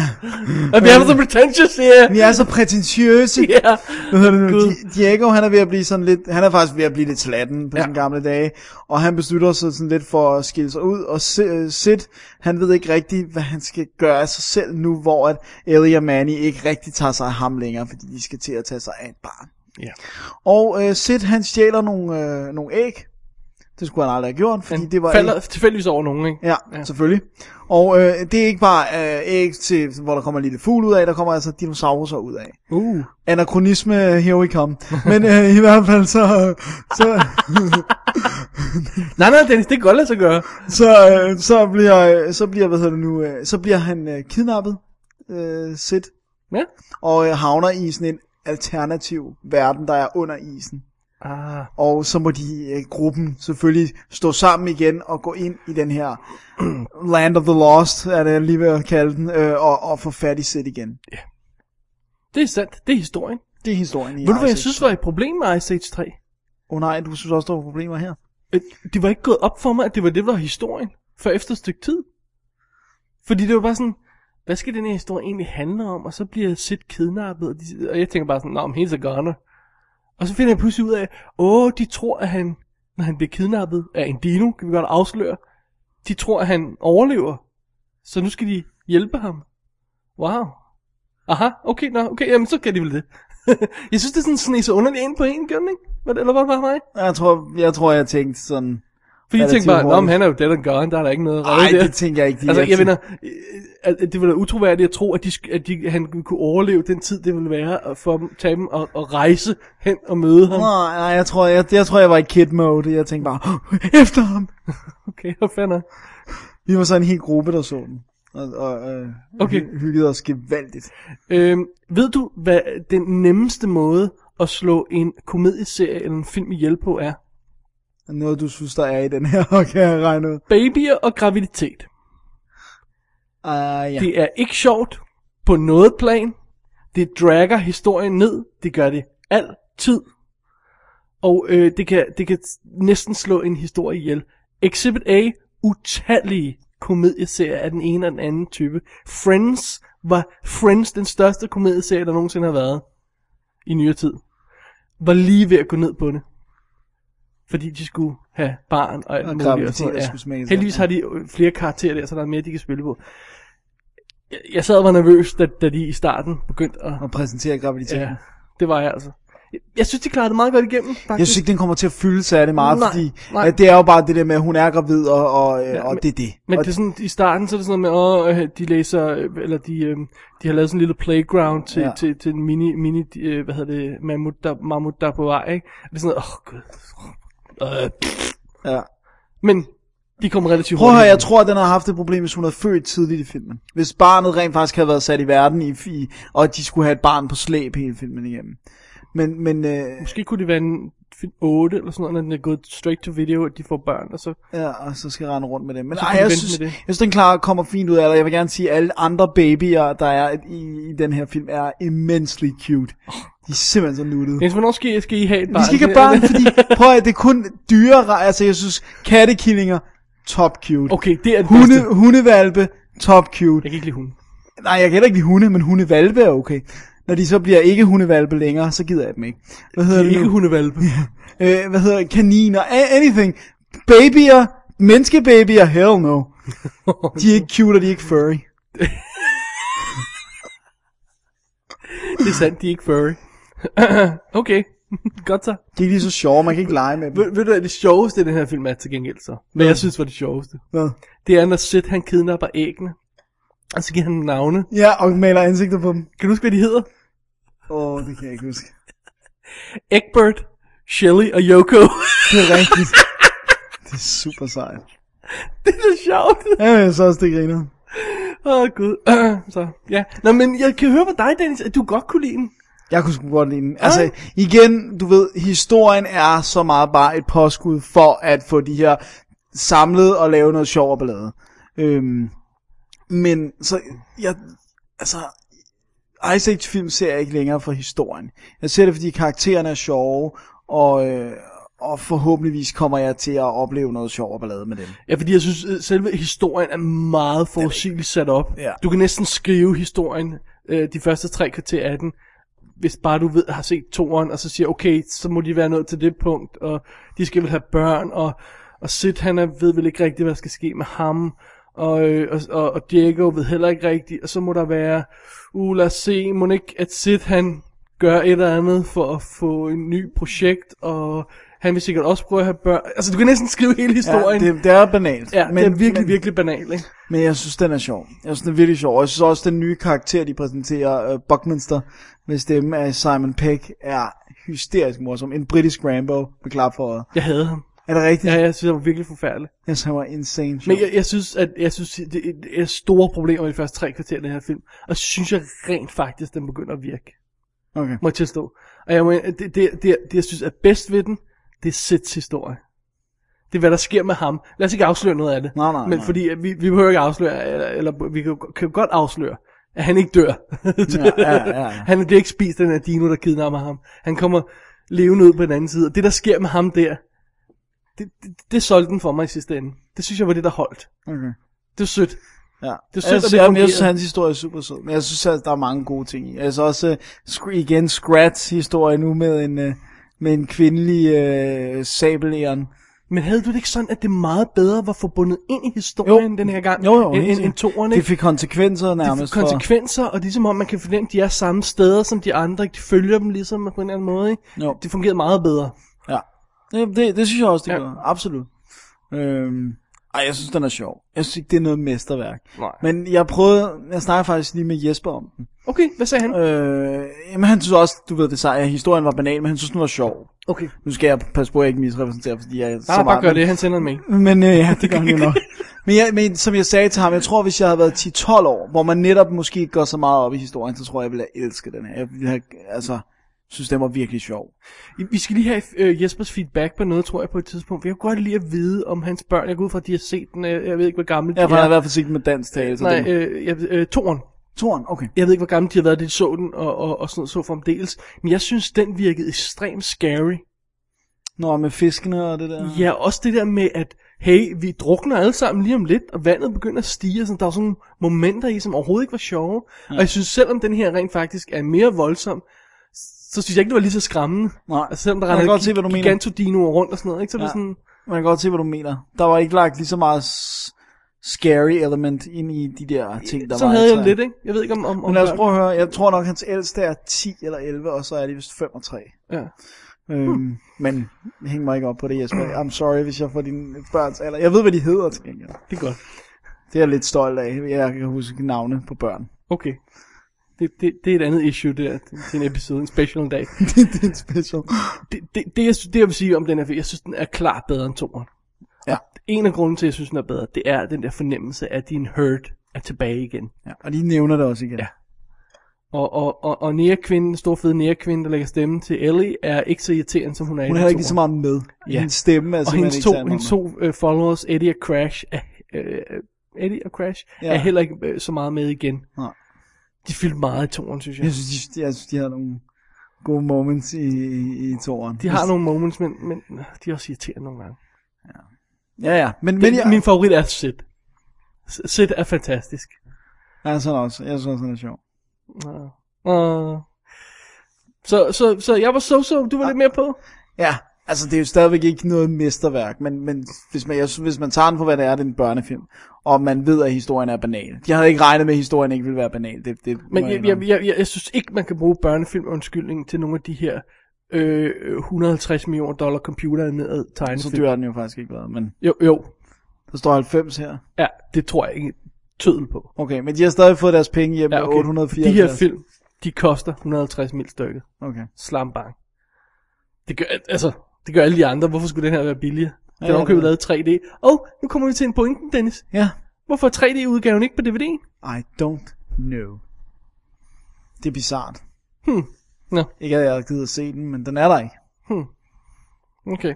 Speaker 1: Og vi er så pretentious her.
Speaker 2: vi er så prætentiøse.
Speaker 1: Ja.
Speaker 2: Hvad hedder det nu?
Speaker 1: Gud.
Speaker 2: Di- Diego, han er ved at blive sådan lidt, han er faktisk ved at blive lidt slatten på ja.
Speaker 1: Ja.
Speaker 2: sine gamle dage, og han beslutter sig sådan lidt for at skille sig ud, og Si- øh, Sid, han ved ikke rigtigt, hvad han skal gøre af sig selv nu, hvor at Ellie og Manny ikke rigtig tager sig af ham længere, fordi de skal til at tage sig af et barn.
Speaker 1: Ja.
Speaker 2: Og øh, Sid, han stjæler nogle, øh, nogle æg, det skulle han aldrig have gjort, fordi
Speaker 1: Han
Speaker 2: det var
Speaker 1: falder tilfældigvis over nogen, ikke?
Speaker 2: Ja, ja,
Speaker 1: Ja.
Speaker 2: selvfølgelig. Og øh, det er ikke bare øh, æg, til, hvor der kommer en lille fugl ud af, der kommer altså dinosaurer ud af.
Speaker 1: Uh.
Speaker 2: Anachronisme, here we come. Men øh, i hvert fald så, så,
Speaker 1: Nej, nej, Dennis, det kan godt lade sig gøre.
Speaker 2: så, øh, så, bliver, så bliver, hvad hedder det nu, øh, så bliver han øh, kidnappet, øh, Sid,
Speaker 1: Ja.
Speaker 2: og øh, havner i sådan en alternativ verden, der er under isen.
Speaker 1: Ah,
Speaker 2: Og så må de, øh, gruppen selvfølgelig stå sammen igen og gå ind i den her Land of the Lost, er det jeg lige ved at kalde den, øh, og, og få fat i Sid igen.
Speaker 1: det er sandt. Det er historien.
Speaker 2: Det er historien i
Speaker 1: Ved du, hvad
Speaker 2: Ice
Speaker 1: jeg
Speaker 2: Age.
Speaker 1: synes var et problem med Ice Age 3?
Speaker 2: Åh oh, nej, du synes også, der var problemer her.
Speaker 1: Øh, Det var ikke gået op for mig, at det var det, der var historien. For efter et stykke tid. Fordi det var bare sådan, hvad skal den her historie egentlig handle om? Og så bliver Sid kidnappet, og, de, og jeg tænker bare sådan, nå, men he's a goner. Og så finder jeg pludselig ud af, åh, de tror, at han, når han bliver kidnappet af en dino, kan vi godt afsløre, de tror, at han overlever. Så nu skal de hjælpe ham. Wow. Aha, okay, nå, okay, jamen så kan de vel det. jeg synes, det er sådan, sådan så underligt en på en, gør den ikke? Hvad- Eller hvad var mig?
Speaker 2: Jeg tror, jeg, tror, jeg tænkte sådan...
Speaker 1: Fordi jeg tænkte
Speaker 2: relativt
Speaker 1: bare, Nå, men
Speaker 2: hurtigt.
Speaker 1: han er jo dead and gone, der er der ikke noget at redde
Speaker 2: Nej,
Speaker 1: der."
Speaker 2: det tænker jeg ikke. de
Speaker 1: Altså,
Speaker 2: er
Speaker 1: jeg
Speaker 2: til-
Speaker 1: mener, øh, at at det ville være utroværdigt at tro, at, de, sk- at de, han kunne overleve den tid, det ville være at få dem, tage dem og, og rejse hen og møde ham.
Speaker 2: Nej, nej, jeg tror, jeg, jeg tror, jeg var i kid mode. Jeg tænkte bare, efter ham.
Speaker 1: Okay, hvad fanden er
Speaker 2: Vi var så en hel gruppe, der så den. og, og øh,
Speaker 1: Okay.
Speaker 2: hy- hyggede os gevaldigt.
Speaker 1: Øhm, ved du, hvad den nemmeste måde at slå en komedieserie eller en film ihjel på er?
Speaker 2: Noget, du synes, der er i den her, og kan jeg regne ud.
Speaker 1: Babyer og graviditet.
Speaker 2: Uh, ja.
Speaker 1: Det er ikke sjovt på noget plan. Det dragger historien ned. Det gør det altid. Og øh, det, kan, det kan næsten slå en historie ihjel. Exhibit A, utallige komedieserier af den ene og den anden type. Friends var Friends den største komedieserie, der nogensinde har været i nyere tid. Var lige ved at gå ned på det. Fordi de skulle have barn og alt
Speaker 2: Og
Speaker 1: muligt.
Speaker 2: graviditet,
Speaker 1: sådan noget,
Speaker 2: der skulle smages af.
Speaker 1: Heldigvis har de øh, flere karakterer der, så der er mere, de kan spille på. Jeg, jeg sad og var nervøs, da, da de i starten begyndte at...
Speaker 2: Og præsentere graviditeten.
Speaker 1: Ja, det var jeg altså. Jeg, jeg synes, de klarede det meget godt igennem, faktisk.
Speaker 2: Jeg synes ikke, den kommer til at fylde sig af det meget,
Speaker 1: Nej,
Speaker 2: fordi
Speaker 1: nej.
Speaker 2: At det er jo bare det der med, at hun er gravid, og, og, ja, og
Speaker 1: men-
Speaker 2: det er det.
Speaker 1: Men
Speaker 2: og
Speaker 1: det er sådan, i starten, så er det sådan noget med, åh, øh, de læser, øh, eller de, øh, de har lavet sådan en lille playground til,
Speaker 2: Ja.
Speaker 1: ja. til, til en mini, mini de, øh, hvad hedder det, mammut der, mammut der er på vej, ikke? Og det er sådan noget, åh, oh, gud. Øh.
Speaker 2: ja.
Speaker 1: Men de kom relativt
Speaker 2: Prøv at høre,
Speaker 1: hurtigt.
Speaker 2: jeg tror, at den har haft et problem, hvis hun havde født tidligt i filmen. Hvis barnet rent faktisk havde været sat i verden, i, i, og de skulle have et barn på slæb hele filmen igennem. Men, men øh,
Speaker 1: Måske kunne det være en film 8 eller sådan noget, når den er gået straight to video, at de får børn, og så...
Speaker 2: ja, og så skal jeg rende rundt med det. Men
Speaker 1: så
Speaker 2: ej,
Speaker 1: kan vi
Speaker 2: jeg,
Speaker 1: vente
Speaker 2: synes,
Speaker 1: med
Speaker 2: jeg
Speaker 1: det.
Speaker 2: synes, den klarer kommer fint ud af det. Jeg vil gerne sige, at alle andre babyer, der er i, i den her film, er immensely cute. De er simpelthen så nuttede.
Speaker 1: Jens, hvornår skal I, skal I have et barn?
Speaker 2: Vi skal ikke have børn, fordi prøv at, det er kun dyre, altså jeg synes, kattekillinger, top cute.
Speaker 1: Okay, det er det Hunde...
Speaker 2: Hunde, hundevalpe, top cute.
Speaker 1: Jeg kan ikke lide hunden.
Speaker 2: Nej, jeg kan heller ikke lide hunde, men hundevalpe er okay. Når de så bliver ikke hundevalpe længere, så gider jeg dem ikke. Hvad hedder det
Speaker 1: Ikke
Speaker 2: nu?
Speaker 1: hundevalpe.
Speaker 2: Øh, hvad hedder det? kaniner, a- anything. Babyer, menneskebabyer, hell no. De er ikke cute, og de er ikke furry.
Speaker 1: det er sandt, de er ikke furry. okay, godt så.
Speaker 2: De er ikke lige så sjove, man kan ikke lege med dem.
Speaker 1: Ved, ved du hvad det sjoveste i den her film er til gengæld så? Hvad jeg synes var det sjoveste.
Speaker 2: Hvad?
Speaker 1: Det er, når Sid han kidnapper æggene. Og så giver han dem navne.
Speaker 2: Ja, og maler ansigter på dem.
Speaker 1: Kan du huske, hvad de hedder?
Speaker 2: Åh, oh, det kan jeg ikke huske.
Speaker 1: Egbert, Shelly og Yoko.
Speaker 2: Det er rigtigt. Det er super sejt.
Speaker 1: det er så sjovt.
Speaker 2: Ja, jeg så også, det griner.
Speaker 1: Åh, oh, gud. så, ja. Nå, men jeg kan høre på dig, Dennis, at du godt kunne lide den.
Speaker 2: Jeg kunne sgu godt lide den. Altså, igen, du ved, historien er så meget bare et påskud for at få de her samlet og lave noget sjov og ballade. Øhm, men så, jeg, altså, Ice Age film ser jeg ikke længere for historien. Jeg ser det, fordi karaktererne er sjove, og, øh, og forhåbentligvis kommer jeg til at opleve noget sjov og ballade med dem.
Speaker 1: Ja, fordi jeg synes, øh, selve historien er meget forudsigeligt sat op.
Speaker 2: Ja.
Speaker 1: Du kan næsten skrive historien øh, de første tre kvarter af den, hvis bare du ved, har set toeren, og så siger, okay, så må de være nået til det punkt, og de skal vel have børn, og, og Sid, han er, ved vel ikke rigtigt, hvad der skal ske med ham, og, øh, og, og, og Diego ved heller ikke rigtigt, og så må der være, uh, lad os se, må ikke, at Sid, han gør et eller andet for at få en ny projekt, og han vil sikkert også prøve at have børn. Altså, du kan næsten skrive hele historien.
Speaker 2: Ja, det, det er banalt.
Speaker 1: Ja, men, det er virkelig, men... virkelig banal, ikke?
Speaker 2: Men jeg synes, den er sjov. Jeg synes, den er virkelig sjov. Og jeg synes også, den nye karakter, de præsenterer, uh, Buckminster, med stemme af Simon Pegg, er hysterisk morsom. En britisk Rambo med klap for øjet.
Speaker 1: Jeg havde ham.
Speaker 2: Er det rigtigt?
Speaker 1: Ja, jeg synes, det var virkelig forfærdelig.
Speaker 2: Jeg synes, han var insane sjov.
Speaker 1: Men jeg, jeg synes, at jeg synes, det det er store problemer i de første tre kvarter af den her film. Og så synes jeg rent faktisk, den begynder at virke.
Speaker 2: Okay.
Speaker 1: Må jeg tilstå. Og jeg, må- det, det, det, det, jeg synes er bedst ved den, det er Sits historie. Det er, hvad der sker med ham. Lad os ikke afsløre noget af det.
Speaker 2: Nej, nej,
Speaker 1: Men
Speaker 2: nej.
Speaker 1: fordi at vi, vi behøver ikke afsløre, eller, eller vi kan, jo- kan jo godt afsløre, at han ikke dør.
Speaker 2: ja, ja, ja.
Speaker 1: Han bliver ikke spist af den her dino, der kidnapper ham. Han kommer levende ud på den anden side. Og det, der sker med ham der, det, det, det solgte den for mig i sidste ende. Det synes jeg var det, der holdt.
Speaker 2: Okay.
Speaker 1: Det var sødt.
Speaker 2: Ja.
Speaker 1: Det er sødt,
Speaker 2: jeg,
Speaker 1: at
Speaker 2: synes,
Speaker 1: det
Speaker 2: jeg, jeg
Speaker 1: fungerer.
Speaker 2: synes, hans historie er super sød. Men jeg synes, at der er mange gode ting i. Altså også, uh, sk- igen, Scrats historie nu med en, uh, med en kvindelig uh, sabelæren.
Speaker 1: Men havde du det ikke sådan, at det meget bedre var forbundet ind i historien den her gang,
Speaker 2: Jo, jo.
Speaker 1: end,
Speaker 2: helt
Speaker 1: end,
Speaker 2: sikkert.
Speaker 1: end toren,
Speaker 2: Det
Speaker 1: ikke?
Speaker 2: fik konsekvenser nærmest.
Speaker 1: det får
Speaker 2: for-
Speaker 1: konsekvenser, og det er som om, man kan fornemme, at de er samme steder som de andre, ikke? de følger dem ligesom på en eller anden måde. Ikke?
Speaker 2: Jo.
Speaker 1: Det fungerede meget bedre.
Speaker 2: Ja. Det, det, det synes jeg også, det
Speaker 1: Ja.
Speaker 2: gør. Absolut. Øhm, ej, jeg synes, den er sjov. Jeg synes ikke, det er noget mesterværk.
Speaker 1: Nej.
Speaker 2: Men jeg prøvede, jeg snakkede faktisk lige med Jesper om den.
Speaker 1: Okay, hvad sagde han?
Speaker 2: Øh, jamen han synes også, du ved det sej, at historien var banal, men han synes, den var sjov.
Speaker 1: Okay.
Speaker 2: Nu skal jeg passe på, at jeg ikke misrepræsenterer, fordi jeg er så
Speaker 1: Nej, bare
Speaker 2: meget-
Speaker 1: gør det, han sender en mail.
Speaker 2: Men øh, ja, det gør han jo nok. Men, jeg, men som jeg sagde til ham, jeg tror, hvis jeg havde været 10-12 år, hvor man netop måske ikke går så meget op i historien, så tror jeg, jeg ville have elsket den her. Jeg ville have, altså, synes, den var virkelig sjov.
Speaker 1: Vi skal lige have øh, Jespers feedback på noget, tror jeg, på et tidspunkt. For jeg kunne godt lide at vide om hans børn. Jeg går ud fra, at de har set den. Øh, jeg ved ikke, hvor gammel de
Speaker 2: Jeg
Speaker 1: er.
Speaker 2: ja. har i hvert fald set den med dansk tale. Så Nej,
Speaker 1: Nej,
Speaker 2: den,
Speaker 1: øh, jeg, øh, toren.
Speaker 2: Toren, okay.
Speaker 1: Jeg ved ikke, hvor gammel de har været, det så den, og, og, og sådan noget, så fremdeles. Men jeg synes, den virkede ekstremt scary.
Speaker 2: Nå, med fiskene og det der.
Speaker 1: Ja, også det der med, at hey, vi drukner alle sammen lige om lidt, og vandet begynder at stige, og sådan, der er sådan nogle momenter i, som overhovedet ikke var sjove. Ja. Og jeg synes, selvom den her rent faktisk er mere voldsom, så synes jeg ikke, det var lige så skræmmende.
Speaker 2: Nej,
Speaker 1: Altså, selvom der
Speaker 2: jeg kan
Speaker 1: render
Speaker 2: godt se, hvad du mener.
Speaker 1: gigantodinoer rundt og sådan noget, ikke? Så ja. det
Speaker 2: Ja.
Speaker 1: er sådan,
Speaker 2: Man kan godt se, hvad du mener. Der var ikke lagt lige så meget s- scary element ind i de der ting, der
Speaker 1: så
Speaker 2: var i
Speaker 1: havde jeg
Speaker 2: traileren.
Speaker 1: lidt, ikke? Jeg ved ikke om... om, om
Speaker 2: Men lad os prøve at høre. Jeg tror nok, hans ældste er 10 eller 11, og så er de vist 5 og 3.
Speaker 1: Ja.
Speaker 2: Øhm,
Speaker 1: Hmm.
Speaker 2: Men hæng mig ikke op på det, Jesper. I'm sorry, hvis jeg får dine børns alder. Jeg ved, hvad de hedder til gengæld.
Speaker 1: Det er godt.
Speaker 2: Det er jeg lidt stolt af. Jeg kan huske navne på børn.
Speaker 1: Okay. Det, det, det er et andet issue, det der. Det er en episode, en special en dag.
Speaker 2: det er en special.
Speaker 1: det, det, det, jeg, sy- det, jeg vil sige om den her film, jeg synes, den er klart bedre end toeren.
Speaker 2: Ja.
Speaker 1: En af grunden til, at jeg synes, den er bedre, det er den der fornemmelse af, at din hurt er tilbage igen.
Speaker 2: ja. Og de nævner det også igen.
Speaker 1: Ja. Og, og, og, og nære kvinden, den store fede nære kvinde, der lægger stemme til Ellie, er ikke så irriterende, som hun er i
Speaker 2: Hun er
Speaker 1: den
Speaker 2: heller ikke lige så
Speaker 1: toer.
Speaker 2: meget med.
Speaker 1: Ja.
Speaker 2: Ja. Hendes stemme er
Speaker 1: Og
Speaker 2: simpelthen
Speaker 1: hendes
Speaker 2: ikke
Speaker 1: to,
Speaker 2: særlig
Speaker 1: hendes
Speaker 2: meget
Speaker 1: to øh, followers, Eddie og Crash, er, øh, øh, Eddie og Crash, ja.
Speaker 2: Ja.
Speaker 1: er heller ikke øh, så meget med igen.
Speaker 2: Nej.
Speaker 1: De fyldte meget i toeren, synes
Speaker 2: med.
Speaker 1: jeg.
Speaker 2: Jeg synes, de, jeg synes, de har nogle gode moments i, i, i toren.
Speaker 1: De har nogle moments, men, men øh, de er også irriterende nogle gange.
Speaker 2: Ja, ja. Men,
Speaker 1: Men
Speaker 2: men jeg,
Speaker 1: Min favorit er Sid. S- Sid er fantastisk.
Speaker 2: Ja, sådan også. Jeg synes også, han er sjov.
Speaker 1: Nå. Nå. Så, så, så jeg var so-so, du var lidt mere på.
Speaker 2: Ja, altså det er jo stadigvæk ikke noget mesterværk, men, men hvis, man, jeg, synes, hvis man tager den for, hvad det er, det er en børnefilm, og man ved, at historien er banal. Jeg havde ikke regnet med, at historien ikke ville være banal. Det, det må
Speaker 1: Men jeg, jeg,
Speaker 2: indrømme.
Speaker 1: jeg, jeg, jeg synes ikke, man kan bruge børnefilmundskyldningen til nogle af de her øh, 150 millioner dollar computeranimerede
Speaker 2: Så
Speaker 1: tegnefilm.
Speaker 2: dyr har den jo faktisk ikke været, men
Speaker 1: Jo, jo.
Speaker 2: der står 90 her.
Speaker 1: Ja, det tror jeg ikke tødel på.
Speaker 2: Okay, men de har stadig fået deres penge hjem
Speaker 1: Ja,
Speaker 2: ja, okay. med 804.
Speaker 1: De her film, de koster 150 mil stykket.
Speaker 2: Okay.
Speaker 1: Slambang. Det gør, altså, det gør alle de andre. Hvorfor skulle den her være billigere? Den
Speaker 2: Ja,
Speaker 1: er
Speaker 2: ja,
Speaker 1: overkøbet
Speaker 2: det
Speaker 1: lavet 3D. Og nu kommer vi til en pointen, Dennis.
Speaker 2: Ja.
Speaker 1: Hvorfor er 3D-udgaven ikke på DVD'en?
Speaker 2: I don't know. Det er bizart.
Speaker 1: Hmm. Nå,
Speaker 2: Ikke at jeg havde givet at se den, men den er der ikke.
Speaker 1: okay.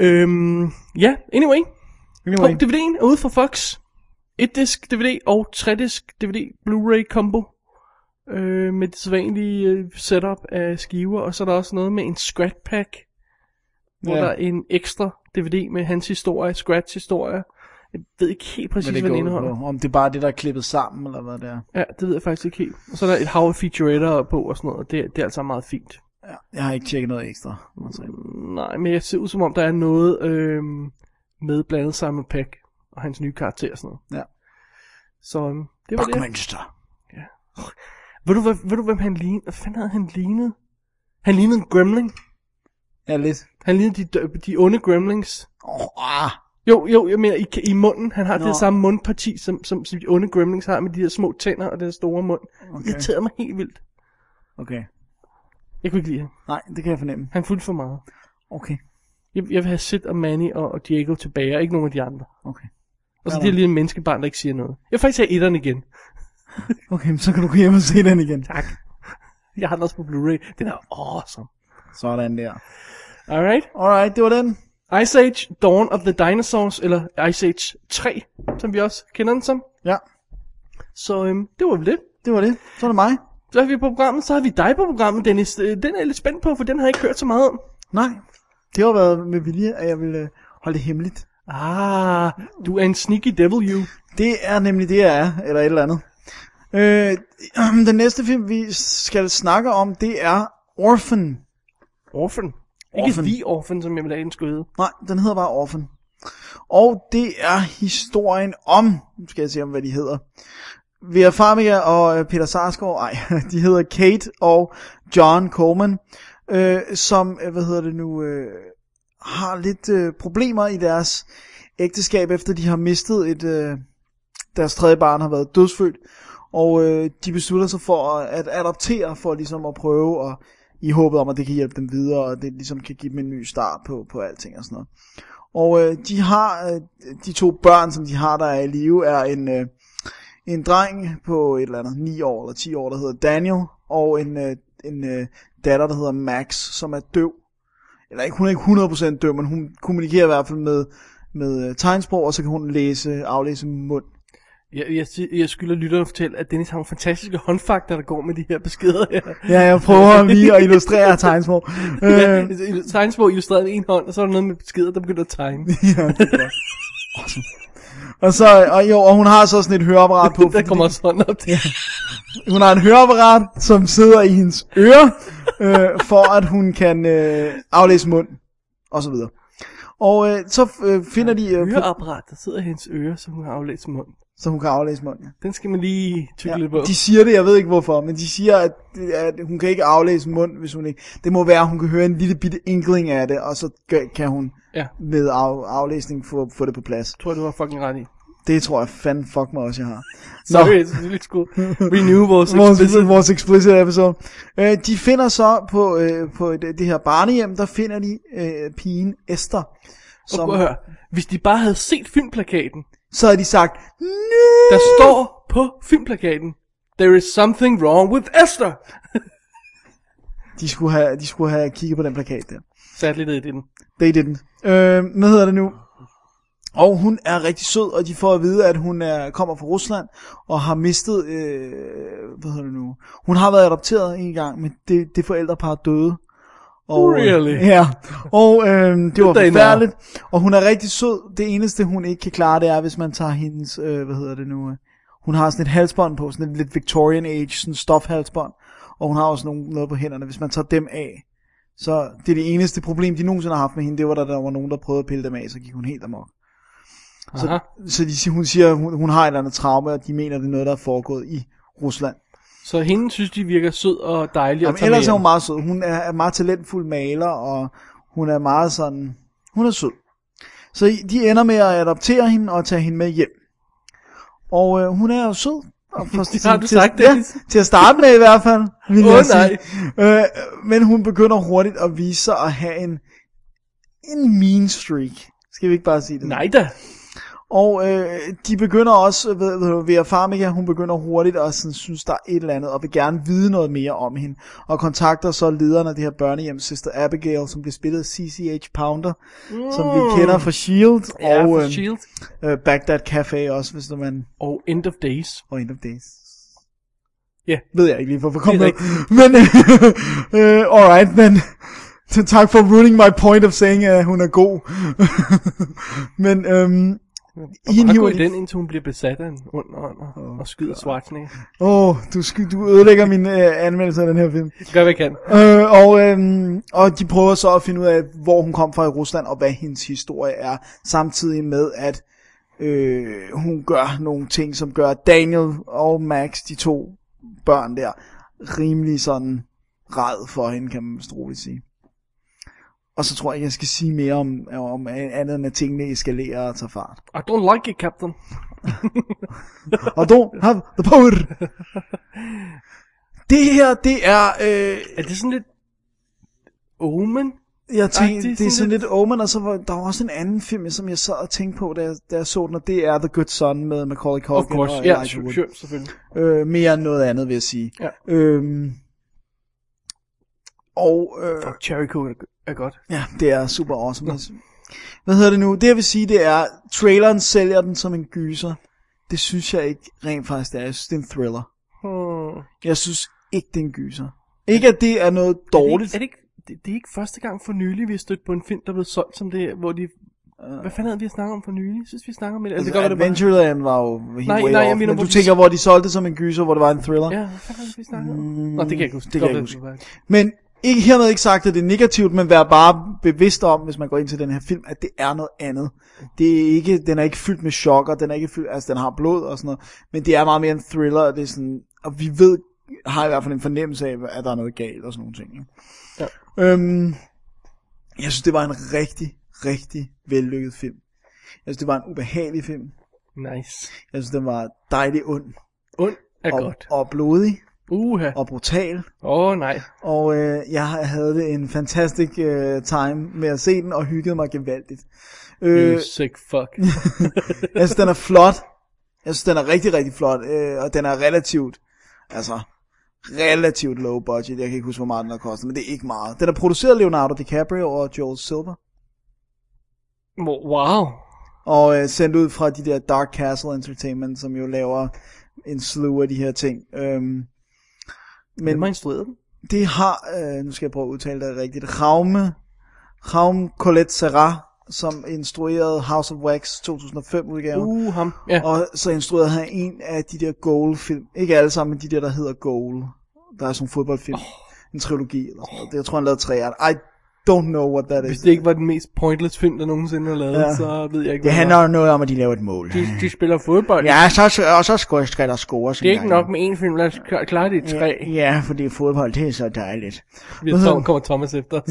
Speaker 1: Øhm, ja, anyway. På
Speaker 2: Anyway,
Speaker 1: DVD'en er ude fra Fox. Et disk DVD og tre disk DVD Blu-ray combo. Øh, med det sædvanlige øh, setup af skiver. Og så er der også noget med en scratch pack. Hvor
Speaker 2: Ja.
Speaker 1: der er en ekstra DVD med hans historie, scratch historie. Jeg ved ikke helt præcis,
Speaker 2: men
Speaker 1: hvad
Speaker 2: det går
Speaker 1: den
Speaker 2: ud
Speaker 1: indeholder.
Speaker 2: på, om det er bare det, der er klippet sammen, eller hvad det er.
Speaker 1: Ja, det ved jeg faktisk ikke helt. Og så er der et hav af featuretter på og sådan noget, og det, det er altså meget fint.
Speaker 2: Ja, jeg har ikke tjekket noget ekstra. Altså,
Speaker 1: Nej, men jeg ser ud som om, der er noget øh, med blandt andet Simon Peck og hans nye karakter og sådan noget.
Speaker 2: Ja.
Speaker 1: Så øh, det var det.
Speaker 2: Buckminster.
Speaker 1: Ved du, hvad, ved du, hvem han lignede? Hvad fanden havde han lignet? Han lignede en gremling.
Speaker 2: Ja, lidt.
Speaker 1: Han lignede de, dø- de onde gremlings.
Speaker 2: Oh, ah.
Speaker 1: Jo, jo, jeg mener, i, i munden. Han har Nå.
Speaker 2: Nå.
Speaker 1: det samme mundparti, som, som, som de onde gremlings har, med de der små tænder og den store mund. Okay. Det irriterede mig helt vildt.
Speaker 2: Okay.
Speaker 1: Jeg kunne ikke lide ham.
Speaker 2: Nej, det kan jeg fornemme.
Speaker 1: Han fulgte for meget.
Speaker 2: Okay.
Speaker 1: Jeg, jeg vil have Sid og Manny og, og Diego tilbage, og ikke nogen af de andre.
Speaker 2: Okay.
Speaker 1: Og så
Speaker 2: Ja,
Speaker 1: det er
Speaker 2: da.
Speaker 1: lige en menneskebarn, der ikke siger noget. Jeg vil faktisk have etteren igen.
Speaker 2: Okay, men så kan du gå hjem og se den igen.
Speaker 1: Tak. Jeg har den også på Blu-ray. Den er awesome.
Speaker 2: Sådan der.
Speaker 1: Alright.
Speaker 2: Alright, det var den.
Speaker 1: Ice Age Dawn of the Dinosaurs, eller Ice Age 3, som vi også kender den som.
Speaker 2: Ja,
Speaker 1: Så øhm, det var vel det.
Speaker 2: det var det. Så er det mig.
Speaker 1: Så er vi på programmet, så har vi dig på programmet, Dennis. Øh, Den er jeg lidt spændt på, for den har jeg ikke hørt så meget om.
Speaker 2: Nej, det har været med vilje, at jeg ville øh, holde det hemmeligt.
Speaker 1: Ah, du er en sneaky devil, you.
Speaker 2: Det er nemlig det, jeg er, eller et eller andet. Øh, den næste film, vi skal snakke om, det er Orphan.
Speaker 1: Orphan. Ikke
Speaker 2: Orphan.
Speaker 1: The Orphan, som jeg ville have den skulle hedde.
Speaker 2: Nej, den hedder bare Orphan. Og det er historien om, nu skal jeg se om, hvad de hedder. Vera Farmiga og øh, Peter Sarsgaard, ej, de hedder Kate og John Coleman, øh, som, øh, hvad hedder det nu, øh, har lidt øh, problemer i deres ægteskab, efter de har mistet et, øh, deres tredje barn har været dødsfødt. Og øh, de beslutter sig for at, at adoptere, for ligesom at prøve, og i håbet om, at det kan hjælpe dem videre, og det ligesom kan give dem en ny start på, på alting og sådan noget. Og øh, de har, øh, de to børn, som de har, der er i live, er en, øh, en dreng på et eller andet 9 år eller 10 år, der hedder Daniel, og en, øh, en øh, datter, der hedder Max, som er døv. Eller ikke, hun er ikke 100% døv, men hun kommunikerer i hvert fald med, med øh, tegnsprog, og så kan hun læse, aflæse mund.
Speaker 1: Jeg, jeg, jeg skylder lytterne at fortælle, at Dennis har nogle fantastiske håndfakter, der går med de her beskeder her.
Speaker 2: Ja, jeg prøver lige at illustrere tegnsprog. Øh,
Speaker 1: Øh. Tegnsprog illustreret med en hånd, og så er der noget med beskeder, der begynder at tegne.
Speaker 2: ja, det er godt. Og så, og jo, og hun har så sådan et høreapparat på,
Speaker 1: der kommer også hånden op til.
Speaker 2: Hun har en høreapparat, som sidder i hendes ører, øh, for at hun kan øh, aflæse mund, og så videre. Og øh, så øh, finder de, øh, på,
Speaker 1: Høreapparat, der sidder i hendes ører, som hun har aflæst mund.
Speaker 2: så hun kan aflæse mund. Ja.
Speaker 1: Den skal man lige tykke ja, lidt på.
Speaker 2: Ja, de siger det, jeg ved ikke hvorfor, men de siger, at, at hun kan ikke aflæse mund, hvis hun ikke... Det må være, at hun kan høre en lille bitte inkling af det, og så gør- kan hun
Speaker 1: Ja,
Speaker 2: med af, aflæsning få, få det på plads.
Speaker 1: tror jeg, du har fucking ret i.
Speaker 2: Det tror jeg fanden fuck mig også, jeg har.
Speaker 1: Sorry, jeg synes, vi skulle renew vores
Speaker 2: vores, vores explicit episode. Øh, de finder så på, øh, på det, det her barnehjem, der finder de øh, pigen Esther.
Speaker 1: Og prøv at høre, hvis de bare havde set filmplakaten,
Speaker 2: så har de sagt, "Mm,
Speaker 1: der
Speaker 2: nej,
Speaker 1: står på filmplakaten, There is something wrong with Esther.
Speaker 2: de skulle, have, de skulle have kigget på den plakat der.
Speaker 1: Sat lidt i den.
Speaker 2: They didn't. Øh, hvad hedder det nu? Og hun er rigtig sød, og de får at vide, at hun er, kommer fra Rusland, og har mistet, øh, hvad hedder det nu? Hun har været adopteret en gang, men det, det forældrepar døde. Og, øh,
Speaker 1: Really?
Speaker 2: Ja, og øh, det var
Speaker 1: day now.
Speaker 2: forfærdeligt. Og hun er rigtig sød. Det eneste, hun ikke kan klare, det er, hvis man tager hendes, øh, hvad hedder det nu? Øh, hun har sådan et halsbånd på, sådan et lidt Victorian Age, sådan stofhalsbånd. Og hun har også nogle, noget på hænderne, hvis man tager dem af. Så det er det eneste problem, de nogensinde har haft med hende, det var, da der var nogen, der prøvede at pille dem af, så gik hun helt amok.
Speaker 1: Aha.
Speaker 2: Så, så de, siger- hun siger, hun, hun har et eller andet traume, og de mener, det er noget, der er foregået i Rusland.
Speaker 1: Så hende synes, de virker sød og dejlig
Speaker 2: Jamen,
Speaker 1: og
Speaker 2: ellers er hun
Speaker 1: tager
Speaker 2: meget sød. Hun er, er meget talentfuld maler, og hun er meget sådan... Hun er sød. Så I- de ender med at adoptere hende og tage hende med hjem. Og øh, hun er jo sød. Og for,
Speaker 1: Det har du
Speaker 2: til, at-
Speaker 1: sagt,
Speaker 2: ja,
Speaker 1: Dennis.
Speaker 2: til at starte med i hvert fald. vil
Speaker 1: Åh,
Speaker 2: jeg sige. Øh, men hun begynder hurtigt at vise sig at have en, en mean streak. Skal vi ikke bare sige det?
Speaker 1: Nej da.
Speaker 2: Og øh, de begynder også, øh, ved, ved, du, ved Farmiga, hun begynder hurtigt at sådan, synes, der er et eller andet, og vil gerne vide noget mere om hende. Og kontakter så lederen af det her børnehjem, Sister Abigail, som bliver spillet af CCH Pounder, mm. som vi kender fra S.H.I.E.L.D.
Speaker 1: Ja,
Speaker 2: og
Speaker 1: for
Speaker 2: øh,
Speaker 1: Shield.
Speaker 2: øh, Bagdad Cafe også, hvis man...
Speaker 1: Og End of Days.
Speaker 2: Og End of Days.
Speaker 1: Ja.
Speaker 2: Ved jeg ikke lige, hvorfor kom
Speaker 1: Det er
Speaker 2: det Men, øh, øh, alright, men... Tak for ruining my point of saying, at hun er god. men, øhm,
Speaker 1: Ian
Speaker 2: hiver
Speaker 1: hiver i
Speaker 2: de-
Speaker 1: den, indtil hun bliver besat af en ond ånd og, oh, og skyder Schwarzenegger.
Speaker 2: Åh, oh, du, sky- du ødelægger min øh, anmeldelse af den her film.
Speaker 1: Det gør, hvad jeg kan.
Speaker 2: Øh, og, øh, og de prøver så at finde ud af, hvor hun kom fra i Rusland, og hvad hendes historie er, samtidig med, at øh, hun gør nogle ting, som gør Daniel og Max, de to børn der, rimelig sådan ræd for hende, kan man vist roligt sige. Og så tror jeg ikke, jeg skal sige mere om, om andet end, at tingene eskalerer og tager fart.
Speaker 1: I don't like it, Captain.
Speaker 2: Og don't have the power. Det her, det er... Øh,
Speaker 1: Er det sådan lidt... Omen?
Speaker 2: Jeg tænkte,
Speaker 1: det er
Speaker 2: det
Speaker 1: sådan
Speaker 2: er sådan lidt Omen, og så var der var også en anden film, som jeg sad og tænkte på, da jeg, da jeg så den, og det er The Good Son med Macaulay
Speaker 1: Of
Speaker 2: Culkin
Speaker 1: course,
Speaker 2: og
Speaker 1: ja,
Speaker 2: Elijah
Speaker 1: sure,
Speaker 2: Wood.
Speaker 1: sure, selvfølgelig.
Speaker 2: Øh, mere end noget andet, vil jeg sige.
Speaker 1: Ja.
Speaker 2: Øhm, og øh,
Speaker 1: Fuck, Cherry Coke er, er godt.
Speaker 2: ja, det er super awesome. Hvad hedder det nu? Det jeg vil sige, det er, traileren sælger den som en gyser. Det synes jeg ikke rent faktisk, det er. Jeg synes, det er en thriller.
Speaker 1: Hmm.
Speaker 2: Jeg synes ikke, det er en gyser. Ikke, at det er noget dårligt.
Speaker 1: Er det, ikke, er det, ikke, det, det er ikke første gang for nylig, vi har stødt på en film, der blev solgt som det her, hvor de... Hvad fanden havde vi snakket om for nylig? Jeg synes, vi snakker om det. Altså, det gør, det var...
Speaker 2: Adventureland var jo helt
Speaker 1: Nej,
Speaker 2: way
Speaker 1: nej, jeg
Speaker 2: off,
Speaker 1: mener,
Speaker 2: men
Speaker 1: hvor
Speaker 2: du
Speaker 1: de-
Speaker 2: tænker, hvor de solgte som en gyser, hvor det var en thriller.
Speaker 1: Ja, hvad fanden havde vi snakket om? Nå, det kan jeg ikke huske.
Speaker 2: Mm. det kan jeg
Speaker 1: Godt,
Speaker 2: ikke
Speaker 1: det var-
Speaker 2: Men ikke, hermed ikke sagt, at det er negativt, men vær bare bevidst om, hvis man går ind til den her film, at det er noget andet. Det er ikke, den er ikke fyldt med chokker, den er ikke fyldt, altså den har blod og sådan noget, men det er meget mere en thriller, og, det er sådan, og vi ved, har i hvert fald en fornemmelse af, at der er noget galt og sådan nogle ting. ikke?
Speaker 1: Ja.
Speaker 2: Øhm, jeg synes, det var en rigtig, rigtig vellykket film. Jeg synes, det var en ubehagelig film.
Speaker 1: Nice.
Speaker 2: Jeg synes, den var dejlig ond.
Speaker 1: Und er
Speaker 2: og,
Speaker 1: godt.
Speaker 2: og blodig
Speaker 1: Uha.
Speaker 2: og brutal.
Speaker 1: Åh oh, nej.
Speaker 2: Og øh, jeg havde en fantastisk øh, time med at se den, og hyggede mig gevaldigt.
Speaker 1: You
Speaker 2: Øh,
Speaker 1: sick fuck.
Speaker 2: jeg synes, den er flot. Jeg synes, den er rigtig, rigtig flot. Øh, og den er relativt, altså, relativt low budget. Jeg kan ikke huske, hvor meget den har kostet, men det er ikke meget. Den er produceret af Leonardo DiCaprio og Joel Silver.
Speaker 1: wow.
Speaker 2: Og øh, sendt ud fra de der Dark Castle Entertainment, som jo laver en slew af de her ting. Øhm,
Speaker 1: Men
Speaker 2: men
Speaker 1: man instrueret den.
Speaker 2: det har, øh, nu skal jeg prøve at udtale det rigtigt, Raume, Raume Colette Serra, som instruerede House of Wax 2005 udgaven.
Speaker 1: Uh, ham. Ja.
Speaker 2: Og så instruerede han en af de der Goal-film. Ikke alle sammen, men de der, der hedder Goal. Der er sådan en fodboldfilm. Oh. En trilogi eller sådan noget. Det- Jeg tror, han lavede tre af det. I don't know what that
Speaker 1: Hvis
Speaker 2: is.
Speaker 1: det ikke var den mest pointless film, der nogensinde har lavet,
Speaker 2: Ja.
Speaker 1: ja. så ved jeg ikke,
Speaker 2: det
Speaker 1: hvad
Speaker 2: handler jo noget om, at de laver et mål.
Speaker 1: det var. de, de spiller fodbold.
Speaker 2: Ja, så, og så skal skal der score.
Speaker 1: Det er ikke nok med én film, lad os kla- klare det i tre.
Speaker 2: Ja, for det er fodbold, det er så dejligt.
Speaker 1: Vi har Tom, kommer Thomas efter. os.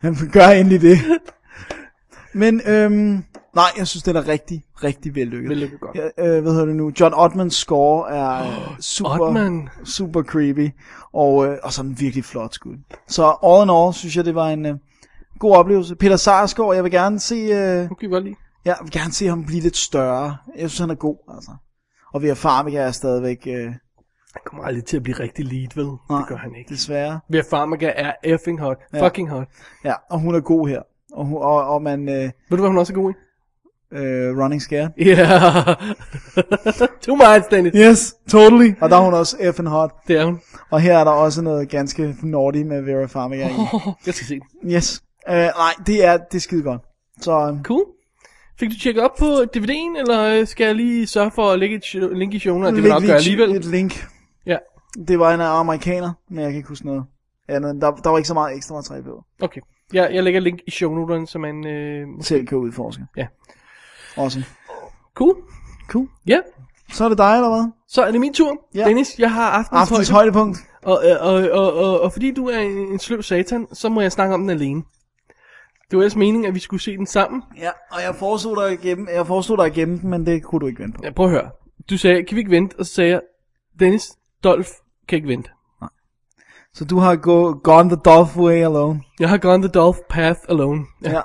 Speaker 2: Han gør endelig det. Men, øhm, nej, jeg synes, den er rigtig, rigtig vellykket.
Speaker 1: Vellykket godt.
Speaker 2: Ja, øh, hvad hedder det nu? John Ottmans score er oh, super,
Speaker 1: Ottman.
Speaker 2: super creepy, og, øh, og sådan virkelig flot skud. Så all in all, synes jeg, det var en øh, god oplevelse. Peter Sarsgaard, jeg vil gerne se, øh,
Speaker 1: Nu kan vi godt lide.
Speaker 2: jeg vil gerne se ham blive lidt større. Jeg synes, han er god, altså. Og Vera Farmiga er stadigvæk, øh,
Speaker 1: Han kommer aldrig til at blive rigtig lead, ved.
Speaker 2: nej,
Speaker 1: Det gør han ikke.
Speaker 2: desværre.
Speaker 1: Vera Farmiga er effing hot. Ja. Fucking hot.
Speaker 2: Ja, og hun er god her. Og, hun, og, og man, øh,
Speaker 1: Ved du, hvad hun også er god i?
Speaker 2: øh, running scared.
Speaker 1: Ja. Yeah. Too much, Dennis.
Speaker 2: Yes, totally. Og der er hun også effing hot.
Speaker 1: Det er hun.
Speaker 2: Og her er der også noget ganske naughty med Vera Farmiga. i.
Speaker 1: Oh, jeg skal se den.
Speaker 2: Yes. Øh, nej, det er, det er skide godt. Så øh,
Speaker 1: Cool. Fik du tjekket op på DVD'en, eller øh, skal jeg lige sørge for at lægge et sho- link i showen? Det vil jeg nok gøre alligevel.
Speaker 2: øh, Et link.
Speaker 1: Ja,
Speaker 2: Det var en af amerikaner, men jeg kan ikke huske noget andet. end- Der, der var ikke så meget ekstra materiale på.
Speaker 1: okay. Jeg, jeg lægger et link i shownoterne, så man... Øh...
Speaker 2: Selv kan udforske.
Speaker 1: Ja.
Speaker 2: Awesome.
Speaker 1: Cool.
Speaker 2: Cool.
Speaker 1: Ja,
Speaker 2: Så er det dig, eller hvad?
Speaker 1: så er det min tur.
Speaker 2: Ja.
Speaker 1: Dennis, jeg har aftens,
Speaker 2: Aftens
Speaker 1: højde.
Speaker 2: højdepunkt.
Speaker 1: Og, og, og, og, og, og fordi du er en, en sløv satan, så må jeg snakke om den alene. Det var ellers meningen, at vi skulle se den sammen.
Speaker 2: Ja, og jeg foreslog dig at gemme, jeg foreslog dig at gemme den, men det kunne du ikke vente på.
Speaker 1: Ja, prøv at høre. Du sagde, kan vi ikke vente? Og så sagde jeg, Dennis, Dolf kan ikke vente.
Speaker 2: Så du har go, gone the Dolph way alone.
Speaker 1: Jeg har gone the Dolph path alone. Ja.
Speaker 2: Ja.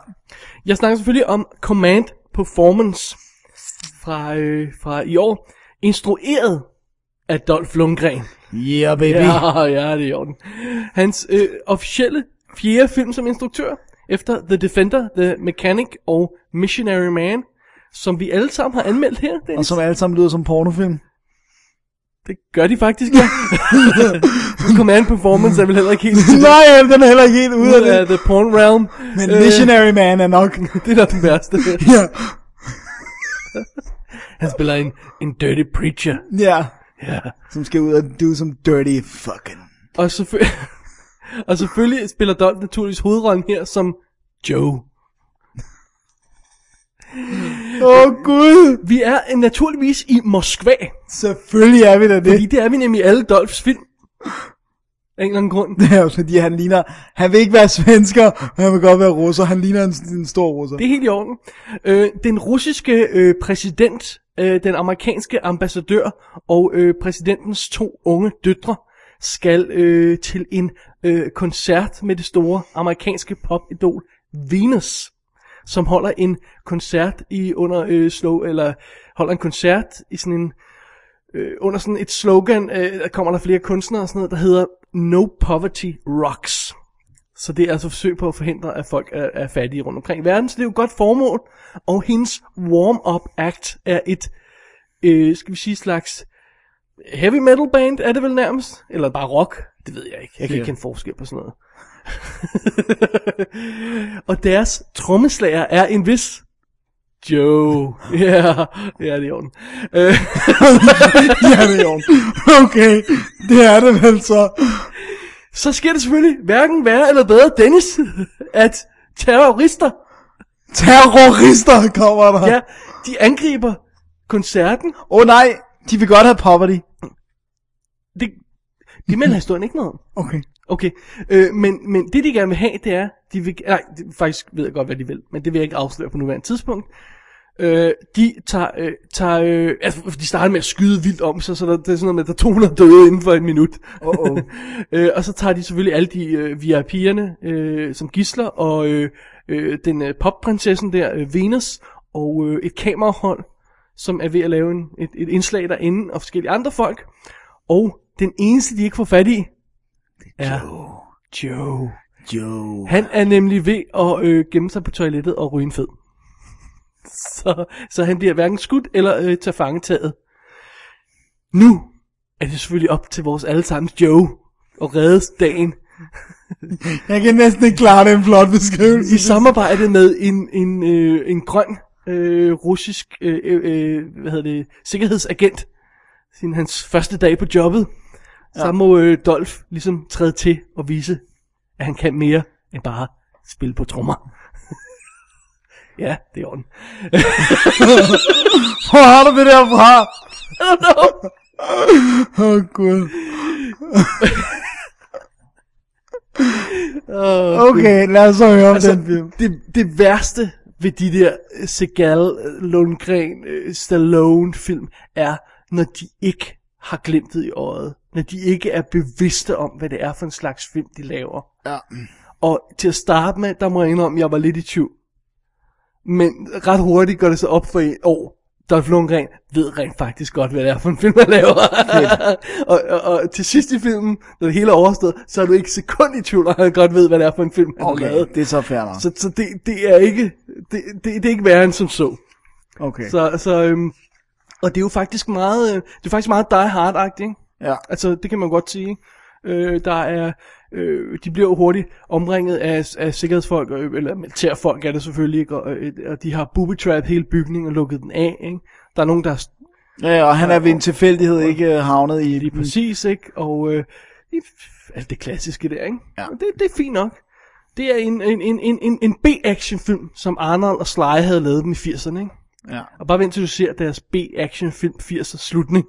Speaker 1: Jeg snakker selvfølgelig om Command Performance fra, øh, fra i år. Instrueret af Dolph Lundgren.
Speaker 2: Yeah, baby. Ja.
Speaker 1: Ja, ja, det er i orden. Hans øh, officielle fjerde film som instruktør, efter The Defender, The Mechanic og Missionary Man, som vi alle sammen har anmeldt her,
Speaker 2: Og
Speaker 1: Dennis.
Speaker 2: som alle sammen lyder som pornofilm.
Speaker 1: Det gør de faktisk, ja. Command Performance er vel heller ikke helt
Speaker 2: Nej, den er heller ikke helt ude af
Speaker 1: ud
Speaker 2: det.
Speaker 1: af The Porn Realm.
Speaker 2: Men
Speaker 1: Øh,
Speaker 2: Missionary Man er nok.
Speaker 1: Det er da den værste.
Speaker 2: ja.
Speaker 1: Han spiller en, en dirty preacher.
Speaker 2: ja.
Speaker 1: Ja.
Speaker 2: Som skal ud og do some dirty fucking.
Speaker 1: Og, selvfølgelig, og selvfølgelig spiller Dolph naturligvis hovedrollen her som Joe.
Speaker 2: Åh oh, gud,
Speaker 1: Vi er øh, naturligvis i Moskva,
Speaker 2: selvfølgelig er vi da
Speaker 1: fordi
Speaker 2: det.
Speaker 1: det er vi nemlig i alle Dolphs film. Af en eller anden grund.
Speaker 2: Det er jo fordi han ligner, han vil ikke være svensker, men han vil godt være russer. Han ligner en, en stor russer.
Speaker 1: Det er helt i orden. Øh, den russiske øh, præsident, øh, den amerikanske ambassadør og øh, præsidentens to unge døtre skal øh, til en øh, koncert med det store amerikanske popidol Venus, som holder en koncert i under øh, slow eller holder en koncert i sådan en øh, under sådan et slogan, øh, der kommer der flere kunstnere og sådan noget, der hedder No Poverty Rocks. Så det er altså et forsøg på at forhindre, at folk er, er fattige rundt omkring i verden. Så det er jo et godt formål. Og hendes warm-up act er et, øh, skal vi sige, slags heavy metal band, er det vel nærmest? Eller bare rock? Det ved jeg ikke. Jeg kan ikke kende forskel på sådan noget. og deres trommeslager er en vis... Joe. Ja, yeah. ja, det er i orden. Øh,
Speaker 2: ja, det er jo. Okay, det er det vel så.
Speaker 1: så sker det selvfølgelig hverken værre eller bedre, Dennis, at terrorister
Speaker 2: Terrorister kommer der. Åh
Speaker 1: Ja, de angriber koncerten.
Speaker 2: oh, nej, de vil godt have poverty.
Speaker 1: Det, det melder historien ikke noget om.
Speaker 2: Okay.
Speaker 1: Okay, øh, men, men det de gerne vil have, det er, de vil, nej, det, faktisk ved jeg godt, hvad de vil, men det vil jeg ikke afsløre på nuværende tidspunkt. Øh, de tager, øh, tager øh, altså, de starter med at skyde vildt om sig, så der, det er sådan noget med, der er 200 døde inden for en minut.
Speaker 2: Uh-oh.
Speaker 1: øh, og så tager de selvfølgelig alle de øh, VIP'erne øh, som gisler, og øh, øh, den øh, popprinsessen der, øh, Venus, og øh, et kamerahold, som er ved at lave en, et, et indslag derinde, og forskellige andre folk. Og den eneste, de ikke får fat i, er Joe. Joe.
Speaker 2: Jo.
Speaker 1: Han er nemlig ved at øh, gemme sig på toilettet og ryge en fed. Så, så han bliver hverken skudt eller øh, tager fangetaget. Nu er det selvfølgelig op til vores allesammens Joe at redde dagen.
Speaker 2: Jeg kan næsten ikke klare det en flot beskrivelse.
Speaker 1: I samarbejde med en, en, øh, en grøn øh, russisk øh, øh, hvad hedder det, sikkerhedsagent, siden hans første dag på jobbet, ja. så må øh, Dolf ligesom træde til og vise, at han kan mere end bare spille på trommer. ja, det er orden.
Speaker 2: Hvor har du det derfra? Åh, oh, Gud.
Speaker 1: Øh,
Speaker 2: Okay, lad os så høre om altså, den film.
Speaker 1: det, det værste ved de der øh, Segal, øh, Lundgren, øh, Stallone film, er, når de ikke har glimtet i øjet. Når de ikke er bevidste om, hvad det er for en slags film, de laver.
Speaker 2: Ja.
Speaker 1: Og til at starte med, der må jeg indrømme, at jeg var lidt i tvivl. Men ret hurtigt går det så op for en år. Dolph Lundgren ved rent faktisk godt, hvad det er for en film, han laver. og, og, og, til sidst i filmen, når det hele er overstået, så er du ikke et sekund i tvivl, om, at han godt ved, hvad det er for en film, han har lavet.
Speaker 2: Okay, det er så fair nok.
Speaker 1: Så, så det, det, er ikke, det, det, det er ikke værre end som så.
Speaker 2: Okay.
Speaker 1: Så, så øhm, og det er jo faktisk meget, øh, det er faktisk meget Die hard ikke?
Speaker 2: Ja.
Speaker 1: Altså, det kan man godt sige. ikke? Øh, der er, øh, de bliver jo hurtigt omringet af, af sikkerhedsfolk, øh, eller militærfolk er det selvfølgelig, ikke? Og, øh, og de har booby-trap hele bygningen og lukket den af. Ikke? Der er nogen, der er
Speaker 2: Ja, og han er ved en tilfældighed ikke øh, havnet i...
Speaker 1: Lige præcis, ikke? Og øh, det- alt det klassiske der, ikke?
Speaker 2: Ja.
Speaker 1: Og Det, det er fint nok. Det er en, en, en, en, en, en B-actionfilm, som Arnold og Sly havde lavet dem i 80'erne, ikke?
Speaker 2: Ja.
Speaker 1: Og bare vent til du ser deres B-actionfilm 80'er slutning.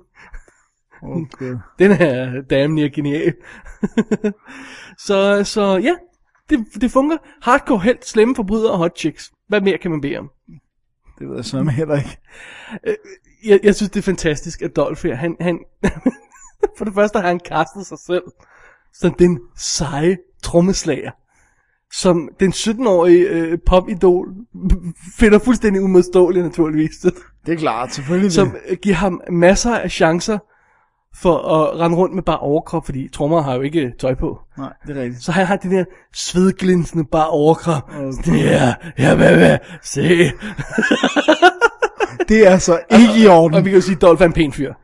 Speaker 2: Okay.
Speaker 1: Den er damn near genial. så, så ja, det, det fungerer. Hardcore helt, slemme forbrydere og hot chicks. Hvad mere kan man bede om?
Speaker 2: Det ved jeg så med heller ikke.
Speaker 1: jeg, jeg synes, det er fantastisk, at Dolph her, han, han for det første har han kastet sig selv som den seje trommeslager, som den 17-årige øh, popidol finder fuldstændig umodståelig naturligvis,
Speaker 2: Det er klart, selvfølgelig.
Speaker 1: som øh, giver ham masser af chancer for at rende rundt med bare overkrop, fordi trommer har jo ikke øh, tøj på.
Speaker 2: Nej, det er rigtigt.
Speaker 1: Så han har den der svedglinsende bare overkrop. Okay. Ja, ja, hvad, hvad, se.
Speaker 2: Det er så ikke i orden.
Speaker 1: Og vi kan jo sige, at Dolph er en pæn fyr.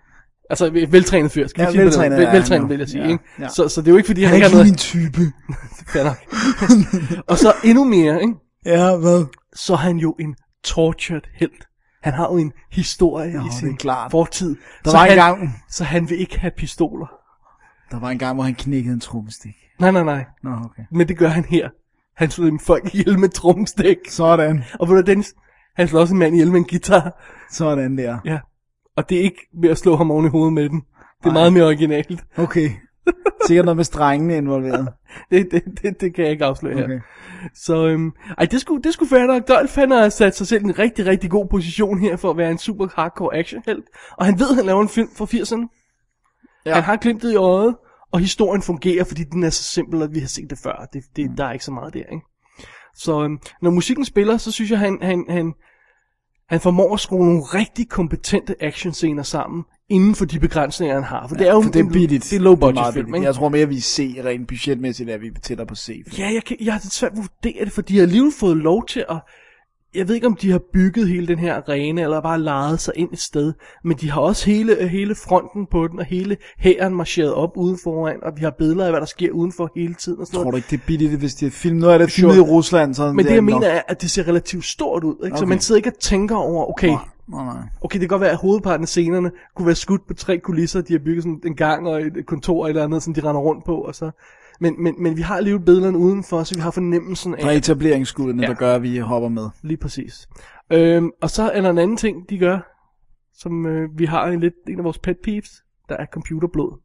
Speaker 1: Altså en veltrænet fyr. Skal
Speaker 2: Ja,
Speaker 1: ja, sige veltrænet,
Speaker 2: veltrænet
Speaker 1: vel,
Speaker 2: er
Speaker 1: veltrænet
Speaker 2: han jo.
Speaker 1: vil jeg sige.
Speaker 2: Ja,
Speaker 1: Ja, ikke?
Speaker 2: ja.
Speaker 1: Ja. Så, så det er jo ikke fordi, han,
Speaker 2: Han er
Speaker 1: ikke
Speaker 2: ikke
Speaker 1: har
Speaker 2: lige
Speaker 1: noget...
Speaker 2: min type.
Speaker 1: Fair nok. og så endnu mere, ikke?
Speaker 2: Ja, hvad?
Speaker 1: så er han jo en tortured held. Han har jo en historie Nå, i
Speaker 2: det er
Speaker 1: sin
Speaker 2: klart.
Speaker 1: fortid.
Speaker 2: Der
Speaker 1: så,
Speaker 2: var
Speaker 1: han,
Speaker 2: engang-
Speaker 1: så han vil ikke have pistoler.
Speaker 2: Der var en gang, hvor han knækkede en trommestik.
Speaker 1: Nej, nej, nej.
Speaker 2: Nå, okay.
Speaker 1: Men det gør han her. Han slår en folk ihjel med trommestik.
Speaker 2: Sådan.
Speaker 1: Og ved du, Dennis, han slår også en mand ihjel med en guitar.
Speaker 2: Sådan der.
Speaker 1: Ja. Og det er ikke ved at slå ham oven i hovedet med den. Det er meget mere originalt.
Speaker 2: Okay. Sikkert noget med strengene involveret.
Speaker 1: Det, det, det, det kan jeg ikke afsløre okay.
Speaker 2: Okay.
Speaker 1: her. Så øhm, ej, det skulle, det skulle være nok. Dolph han har sat sig selv i en rigtig, rigtig god position her for at være en super hardcore actionhelt. Og han ved, at han laver en film fra 80'erne.
Speaker 2: Ja.
Speaker 1: Ja. Han har glimtet i øjet, og historien fungerer, fordi den er så simpel, at vi har set det før. Det, det,
Speaker 2: Mm.
Speaker 1: Der er ikke så meget der, ikke? Så øhm, når musikken spiller, så synes jeg, han, han, han, han formår at skrue nogle rigtig kompetente actionscener sammen, inden for de begrænsninger, han har. For ja, det er jo
Speaker 2: For det er
Speaker 1: en-
Speaker 2: billigt.
Speaker 1: Det er low budget
Speaker 2: meget
Speaker 1: film,
Speaker 2: billigt.
Speaker 1: ikke?
Speaker 2: Jeg tror mere, vi er C rent budgetmæssigt, at vi er tættere på C.
Speaker 1: Ja, jeg, kan, jeg har lidt svært ved at vurdere det, for de har alligevel fået lov til at... Jeg ved ikke, om de har bygget hele den her arena, eller bare lejet sig ind et sted, men de har også hele, hele fronten på den, og hele hæren marcheret op uden foran, og vi har billeder af, hvad der sker udenfor hele tiden og sådan
Speaker 2: Tror
Speaker 1: noget.
Speaker 2: du ikke, det er billigt, hvis det er film? Nu er det filmet i Rusland, så
Speaker 1: Men det, jeg mener
Speaker 2: er...
Speaker 1: er, at det ser relativt stort ud, ikke? Okay. så
Speaker 2: Okay.
Speaker 1: man sidder ikke og tænker over, okay,
Speaker 2: Nå, nej.
Speaker 1: okay, det kan godt være, at hovedparten af scenerne kunne være skudt på tre kulisser, de har bygget sådan en gang og et kontor eller andet, som de render rundt på, og så... Men, men, men vi har alligevel billederne udenfor, så vi har fornemmelsen af,
Speaker 2: Der er etableringsskuddene, ja. der gør, at vi hopper med.
Speaker 1: Lige præcis. Øhm, og så er der en anden ting, de gør, som øh, vi har en, lidt, en af vores pet peeves, der er computerblod.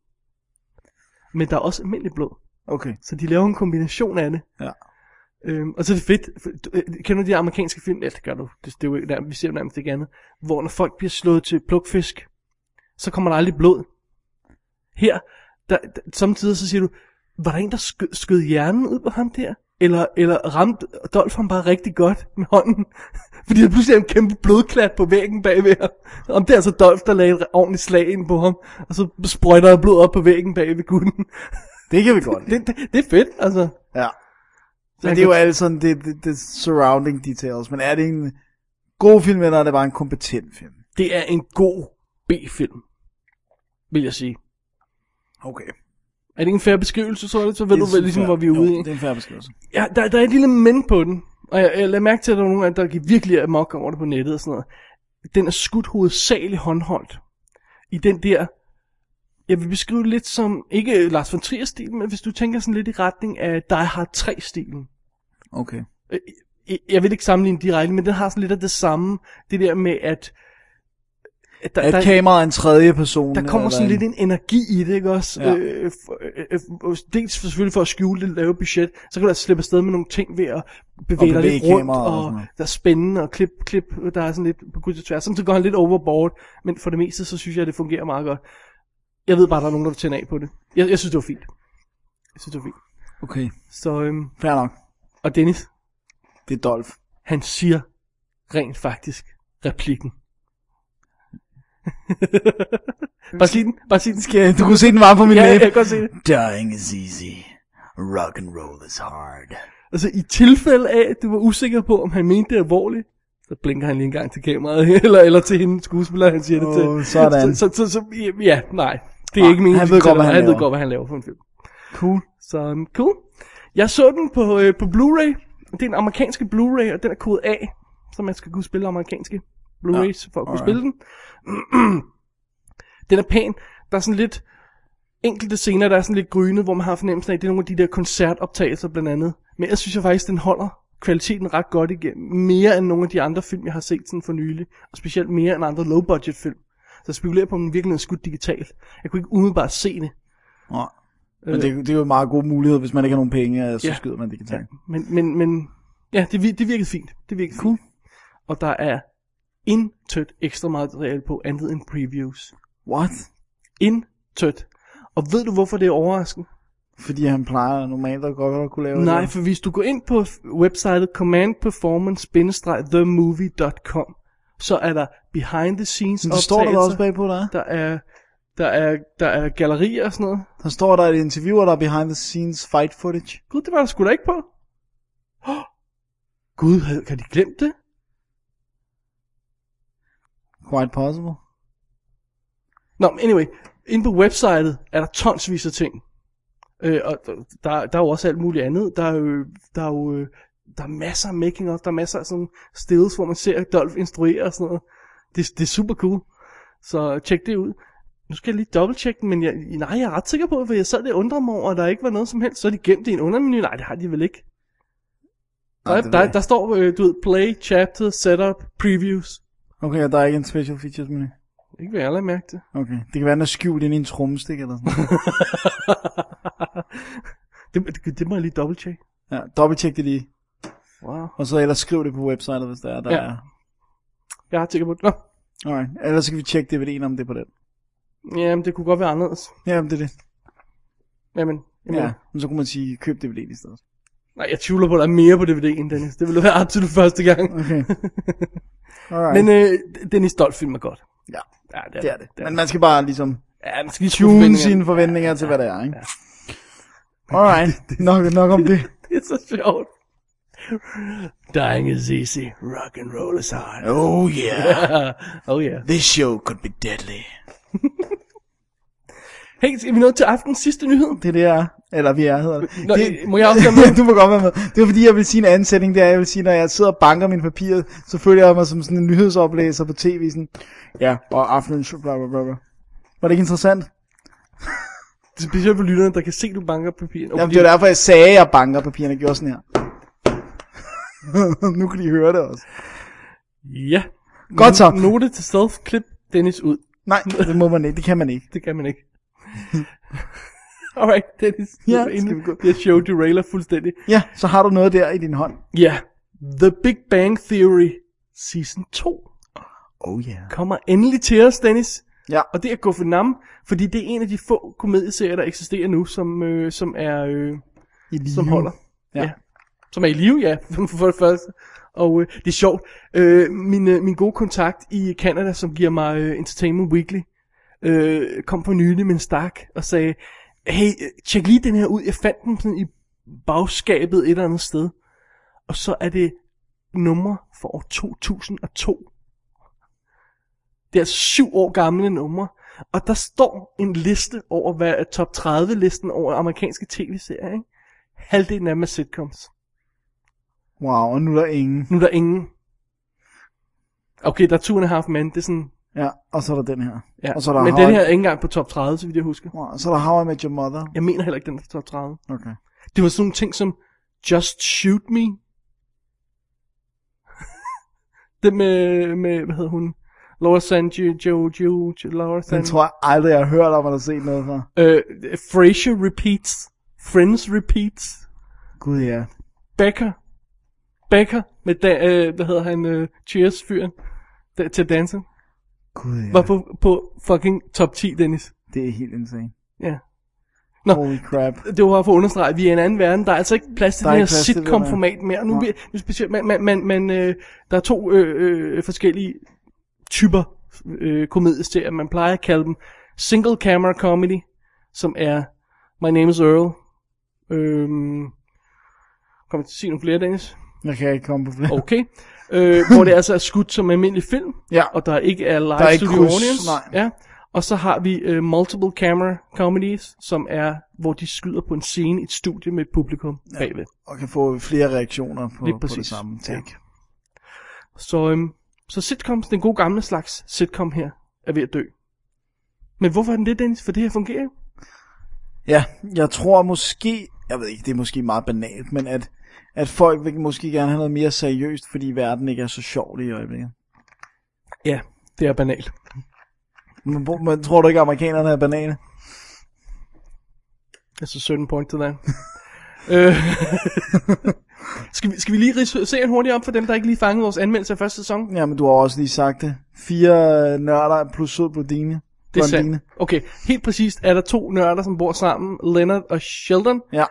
Speaker 1: Men der er også almindelig blod.
Speaker 2: Okay.
Speaker 1: Så de laver en kombination af det.
Speaker 2: Ja.
Speaker 1: Øhm, og så er det fedt, for, du, øh, kender du de amerikanske film? Ja, det gør du, det, det er jo, ikke nærmest, vi ser jo nærmest ikke andet. Hvor når folk bliver slået til plukfisk, så kommer der aldrig blod. Her, der, der, samtidig så siger du, var der en, der skød, skød hjernen ud på ham der? Eller, eller ramte Dolph ham bare rigtig godt med hånden? Fordi der pludselig er en kæmpe blodklat på væggen bagved ham. Om det er altså Dolph, der lagde et ordentligt slag ind på ham, og så sprøjter der blod op på væggen bagved gutten.
Speaker 2: Det kan vi godt lide.
Speaker 1: Det, det, det er fedt, altså.
Speaker 2: Ja. Men det er jo alt sådan, det, det, det surrounding details. Men er det en god film, eller er det bare en kompetent film?
Speaker 1: Det er en god B-film, vil jeg sige.
Speaker 2: Okay.
Speaker 1: Er det en fair beskrivelse, så er det, så ved du vel ligesom, hvor vi er
Speaker 2: jo,
Speaker 1: ude i.
Speaker 2: det er en færre beskrivelse.
Speaker 1: Ja, der, der er et lille men på den. Og jeg, jeg lader mærke til, at der er nogen, af jer, der gik virkelig amok over det på nettet og sådan noget. Den er skudt hovedsageligt håndholdt. I den der, jeg vil beskrive det lidt som, ikke Lars von Trier-stilen, men hvis du tænker sådan lidt i retning af Die Hard 3-stilen.
Speaker 2: Okay.
Speaker 1: Øh, jeg- Jeg vil ikke sammenligne direkte, men den har sådan lidt af det samme. Det der med, at... at der,
Speaker 2: At kameraet er en tredje person.
Speaker 1: der kommer
Speaker 2: eller
Speaker 1: sådan
Speaker 2: en-
Speaker 1: lidt en energi i det, ikke også?
Speaker 2: Ja.
Speaker 1: Ja. Øh, for, øh, øh, for- dels for- selvfølgelig for at skjule det lave budget, så kan du altså slippe afsted med nogle ting ved at bevæge dig
Speaker 2: bevæge
Speaker 1: lidt rundt,
Speaker 2: kameraet og
Speaker 1: og,
Speaker 2: sådan
Speaker 1: og
Speaker 2: noget.
Speaker 1: der er spændende, og klip, klip, der er sådan lidt på kryds og tværs. Samtidig går han lidt overboard, men for det meste, så synes jeg, det fungerer meget godt. Jeg ved bare, der er nogen, der vil tænde af på det. Jeg, jeg synes, det var fint. Jeg synes, det var fint.
Speaker 2: Okay,
Speaker 1: Så, øhm,
Speaker 2: fair nok.
Speaker 1: og Dennis,
Speaker 2: Det er Dolph.
Speaker 1: han siger rent faktisk replikken. bare sig den, bare sig den.
Speaker 2: Skal, du kunne se den var på min
Speaker 1: Ja, jeg
Speaker 2: læbe.
Speaker 1: kan godt se det.
Speaker 2: Dying is easy. Rock and roll is hard.
Speaker 1: Altså i tilfælde af, at du var usikker på, om han mente det alvorligt, så blinker han lige en gang til kameraet, eller, eller til hende skuespiller, han siger det
Speaker 2: Åh,
Speaker 1: til.
Speaker 2: sådan.
Speaker 1: Så, så, så, så, ja, nej. Det er
Speaker 2: Nej,
Speaker 1: ikke meningen.
Speaker 2: han
Speaker 1: de
Speaker 2: ved godt,
Speaker 1: fortæller
Speaker 2: hvad
Speaker 1: mig.
Speaker 2: han
Speaker 1: han ved
Speaker 2: laver.
Speaker 1: godt, hvad han laver for en film.
Speaker 2: Cool.
Speaker 1: Så um, cool. Jeg så den på, øh, på Blu-ray. Det er en amerikansk Blu-ray, og den er kode A, så man skal kunne spille amerikanske Blu-rays for at kunne
Speaker 2: alright.
Speaker 1: spille den. den er pæn. Der er sådan lidt enkelte scener, der er sådan lidt grynet, hvor man har fornemmelsen af, at det er nogle af de der koncertoptagelser blandt andet. Men jeg synes jeg faktisk, den holder kvaliteten ret godt igennem. Mere end nogle af de andre film, jeg har set sådan for nylig. Og specielt mere end andre low-budget film. Så jeg spekulerer på, om den virkelig er skudt digitalt. Jeg kunne ikke umiddelbart se det.
Speaker 2: Nå. Men det, det er jo en meget god mulighed, hvis man ikke har nogen penge, øh, så
Speaker 1: Ja.
Speaker 2: skyder man det kan
Speaker 1: Men, men, men ja, det, vir- det virkede fint. Det virkede cool. fint. Og der er intet ekstra materiale på andet end previews.
Speaker 2: What?
Speaker 1: Intet. Og ved du, hvorfor det er overraskende?
Speaker 2: Fordi han plejer normalt at godt at kunne lave
Speaker 1: Nej,
Speaker 2: det.
Speaker 1: for hvis du går ind på f- websitet commandperformance-themovie.com, så er der behind the scenes
Speaker 2: Men det står der da
Speaker 1: optagelser.
Speaker 2: også bagpå, der er.
Speaker 1: Der er, der er, der er gallerier og sådan noget.
Speaker 2: Der står der et interview, og der er behind the scenes fight footage.
Speaker 1: Gud, det var der sgu da ikke på. Oh, Gud, havde- kan de glemme det?
Speaker 2: Quite possible.
Speaker 1: Nå, men anyway, inde på websitet er der tonsvis af ting. Øh, og der, der er jo også alt muligt andet. Der er jo, der er jo øh, der er masser af making of, der er masser af sådan stills, hvor man ser Dolph instruere og sådan noget. Det, det er super cool. Så tjek det ud. Nu skal jeg lige dobbelttjekke den, men jeg, nej, jeg er ret sikker på, for jeg sad det og undrede mig over, at der ikke var noget som helst. Så er de gemt det i en undermenu. Nej, det har de vel ikke. Der,
Speaker 2: Nej,
Speaker 1: er-
Speaker 2: det ved
Speaker 1: der,
Speaker 2: jeg
Speaker 1: der står, øh, du ved, play, chapter, setup, previews.
Speaker 2: Okay, og der er ikke en special features menu.
Speaker 1: Ikke hvad jeg lader mærke til.
Speaker 2: Okay, det kan være, den er skjult inde i en trommestik eller sådan noget.
Speaker 1: det, det, det må jeg lige dobbelttjekke.
Speaker 2: Ja, dobbelttjek det lige.
Speaker 1: Wow.
Speaker 2: Og så ellers skriv det på websitet, hvis der er. Der
Speaker 1: Ja.
Speaker 2: er.
Speaker 1: Jeg er ret sikker på det. Nå,
Speaker 2: Alright. Ellers så kan vi tjekke DVD'en, om det er på den.
Speaker 1: Jamen, det kunne godt være anderledes.
Speaker 2: Jamen, det er det.
Speaker 1: Jamen, jeg
Speaker 2: Ja.
Speaker 1: ja.
Speaker 2: Men så kunne man sige, køb DVD'en i stedet.
Speaker 1: Nej, jeg tvivler på, at der er mere på DVD'en, Dennis. Det ville være absolut første gang.
Speaker 2: Okay. Alright.
Speaker 1: Men øh, Dennis Dolph-film er godt.
Speaker 2: ja,
Speaker 1: Ja,
Speaker 2: det er
Speaker 1: det, er
Speaker 2: det. Men
Speaker 1: det.
Speaker 2: man skal bare ligesom
Speaker 1: Ja, man skal lige skrue
Speaker 2: tune
Speaker 1: forventningerne.
Speaker 2: sine forventninger til, hvad det er, ikke? Alright. Nok, nok om det.
Speaker 1: Det er så sjovt. Dying is easy. Rock and roll is hard.
Speaker 2: Oh yeah.
Speaker 1: oh yeah.
Speaker 2: This show could be deadly.
Speaker 1: Hey, skal vi nå til aftens sidste nyhed?
Speaker 2: Det er det, jeg er. Eller vi er, hedder det.
Speaker 1: Nå,
Speaker 2: det
Speaker 1: må jeg også være med?
Speaker 2: du må godt være med. Det er fordi, jeg vil sige en anden sætning, det er, jeg vil sige, når jeg sidder og banker mine papirer, så føler jeg mig som sådan en nyhedsoplæser på tv, sådan, ja, og aftenen, bla, bla, bla, bla. Var det ikke interessant?
Speaker 1: Det er specielt for lytterne, der kan se, du banker papiren.
Speaker 2: Jamen, det var derfor, jeg sagde, at jeg banker papirerne, jeg gjorde sådan her. nu kan de høre det også.
Speaker 1: Ja.
Speaker 2: Godt så.
Speaker 1: Note til self-clip Dennis ud.
Speaker 2: Nej, det må man ikke, det kan man ikke.
Speaker 1: Det kan man ikke. Alright, Dennis.
Speaker 2: Ja, skal vi
Speaker 1: inden
Speaker 2: gå?
Speaker 1: jeg show derailer fuldstændig.
Speaker 2: Ja, så har du noget der i din hånd.
Speaker 1: Ja, yeah. The Big Bang Theory Season 2
Speaker 2: Oh yeah.
Speaker 1: kommer endelig til os, Dennis.
Speaker 2: Ja,
Speaker 1: Og det er Goffin Nam, fordi det er en af de få komedieserier, der eksisterer nu, som, øh, som er... Øh,
Speaker 2: i live.
Speaker 1: som holder.
Speaker 2: Ja.
Speaker 1: Ja. Som er i live, ja, for det første. Og øh, det er sjovt. Øh, min, øh, min gode kontakt i Canada, som giver mig øh, Entertainment Weekly, øh, kom på nylig med en stak og sagde, hey, øh, tjek lige den her ud. Jeg fandt den sådan i bagskabet et eller andet sted. Og så er det numre for år 2002. Det er syv år gamle numre. Og der står en liste over, hvad er top 30 listen over amerikanske tv-serier, ikke? Halvdelen af dem er sitcoms.
Speaker 2: Wow, og nu er der ingen.
Speaker 1: Nu er der ingen. Okay, der er two and a half men, det er sådan...
Speaker 2: Ja, og så er der den her.
Speaker 1: Ja.
Speaker 2: Og så er der
Speaker 1: Men
Speaker 2: How
Speaker 1: den
Speaker 2: I-
Speaker 1: her er ikke engang på top 30, så vidt jeg husker.
Speaker 2: Wow, så er der How I Met Your Mother.
Speaker 1: Jeg mener heller ikke, den er på top 30.
Speaker 2: Okay.
Speaker 1: Det var sådan nogle ting som... Just shoot me. det med, med... Hvad hedder hun? Laura San... Jo, jo, jo, Laura San...
Speaker 2: Den tror jeg aldrig, jeg har hørt om, eller set noget fra.
Speaker 1: Øh, Frasier repeats. Friends repeats.
Speaker 2: Gud ja.
Speaker 1: Becker. Becker med, da, øh, hvad hedder han, øh, Cheers-fyren da, til dansen,
Speaker 2: Gud ja.
Speaker 1: var på, på fucking top 10, Dennis.
Speaker 2: Det er helt insane.
Speaker 1: Ja. Nå.
Speaker 2: Holy crap.
Speaker 1: Det var bare for at understrege, at vi er i en anden verden. Der er altså ikke plads til
Speaker 2: Der er
Speaker 1: det her
Speaker 2: ikke plads til det,
Speaker 1: sitcom-format mere. Nu,
Speaker 2: Nej.
Speaker 1: vi, nu specielt, man, man, man, man, øh, der er to øh, øh, forskellige typer øh, komedieserier. Man plejer at kalde dem single camera comedy, som er My Name is Earl. Øhm, kommer til at sige nogle flere, Dennis?
Speaker 2: Jeg kan ikke komme på flere.
Speaker 1: Okay. Øh, hvor det altså er skudt som almindelig film,
Speaker 2: Ja.
Speaker 1: og der ikke er live
Speaker 2: Der er ikke
Speaker 1: studio
Speaker 2: kryds,
Speaker 1: audience.
Speaker 2: nej.
Speaker 1: Ja. Og så har vi øh, multiple camera comedies, som er, hvor de skyder på en scene i et studie med et publikum ja. bagved.
Speaker 2: Og kan få flere reaktioner på,
Speaker 1: Lige
Speaker 2: på det
Speaker 1: præcis.
Speaker 2: samme take.
Speaker 1: Så, øhm, så sitcoms, den gode gamle slags sitcom her, er ved at dø. Men hvorfor er den det, Dennis? For det her fungerer jo.
Speaker 2: Ja, jeg tror måske, jeg ved ikke, det er måske meget banalt, men at, at folk vil måske gerne have noget mere seriøst, fordi verden ikke er så sjov lige i øjeblikket.
Speaker 1: Ja, det er banalt.
Speaker 2: Men, hvor- men tror du ikke, at amerikanerne er banale?
Speaker 1: Altså certain point to that. øh, skal, vi, skal vi lige ridse- se en hurtigt op for dem, der ikke lige fangede vores anmeldelse af første sæson?
Speaker 2: Ja, men du har også lige sagt det. Fire øh, nørder plus sød blondine.
Speaker 1: Det er sandt.
Speaker 2: Blondine.
Speaker 1: Okay, helt præcist er der to nørder, som bor sammen, Leonard og Sheldon.
Speaker 2: Ja,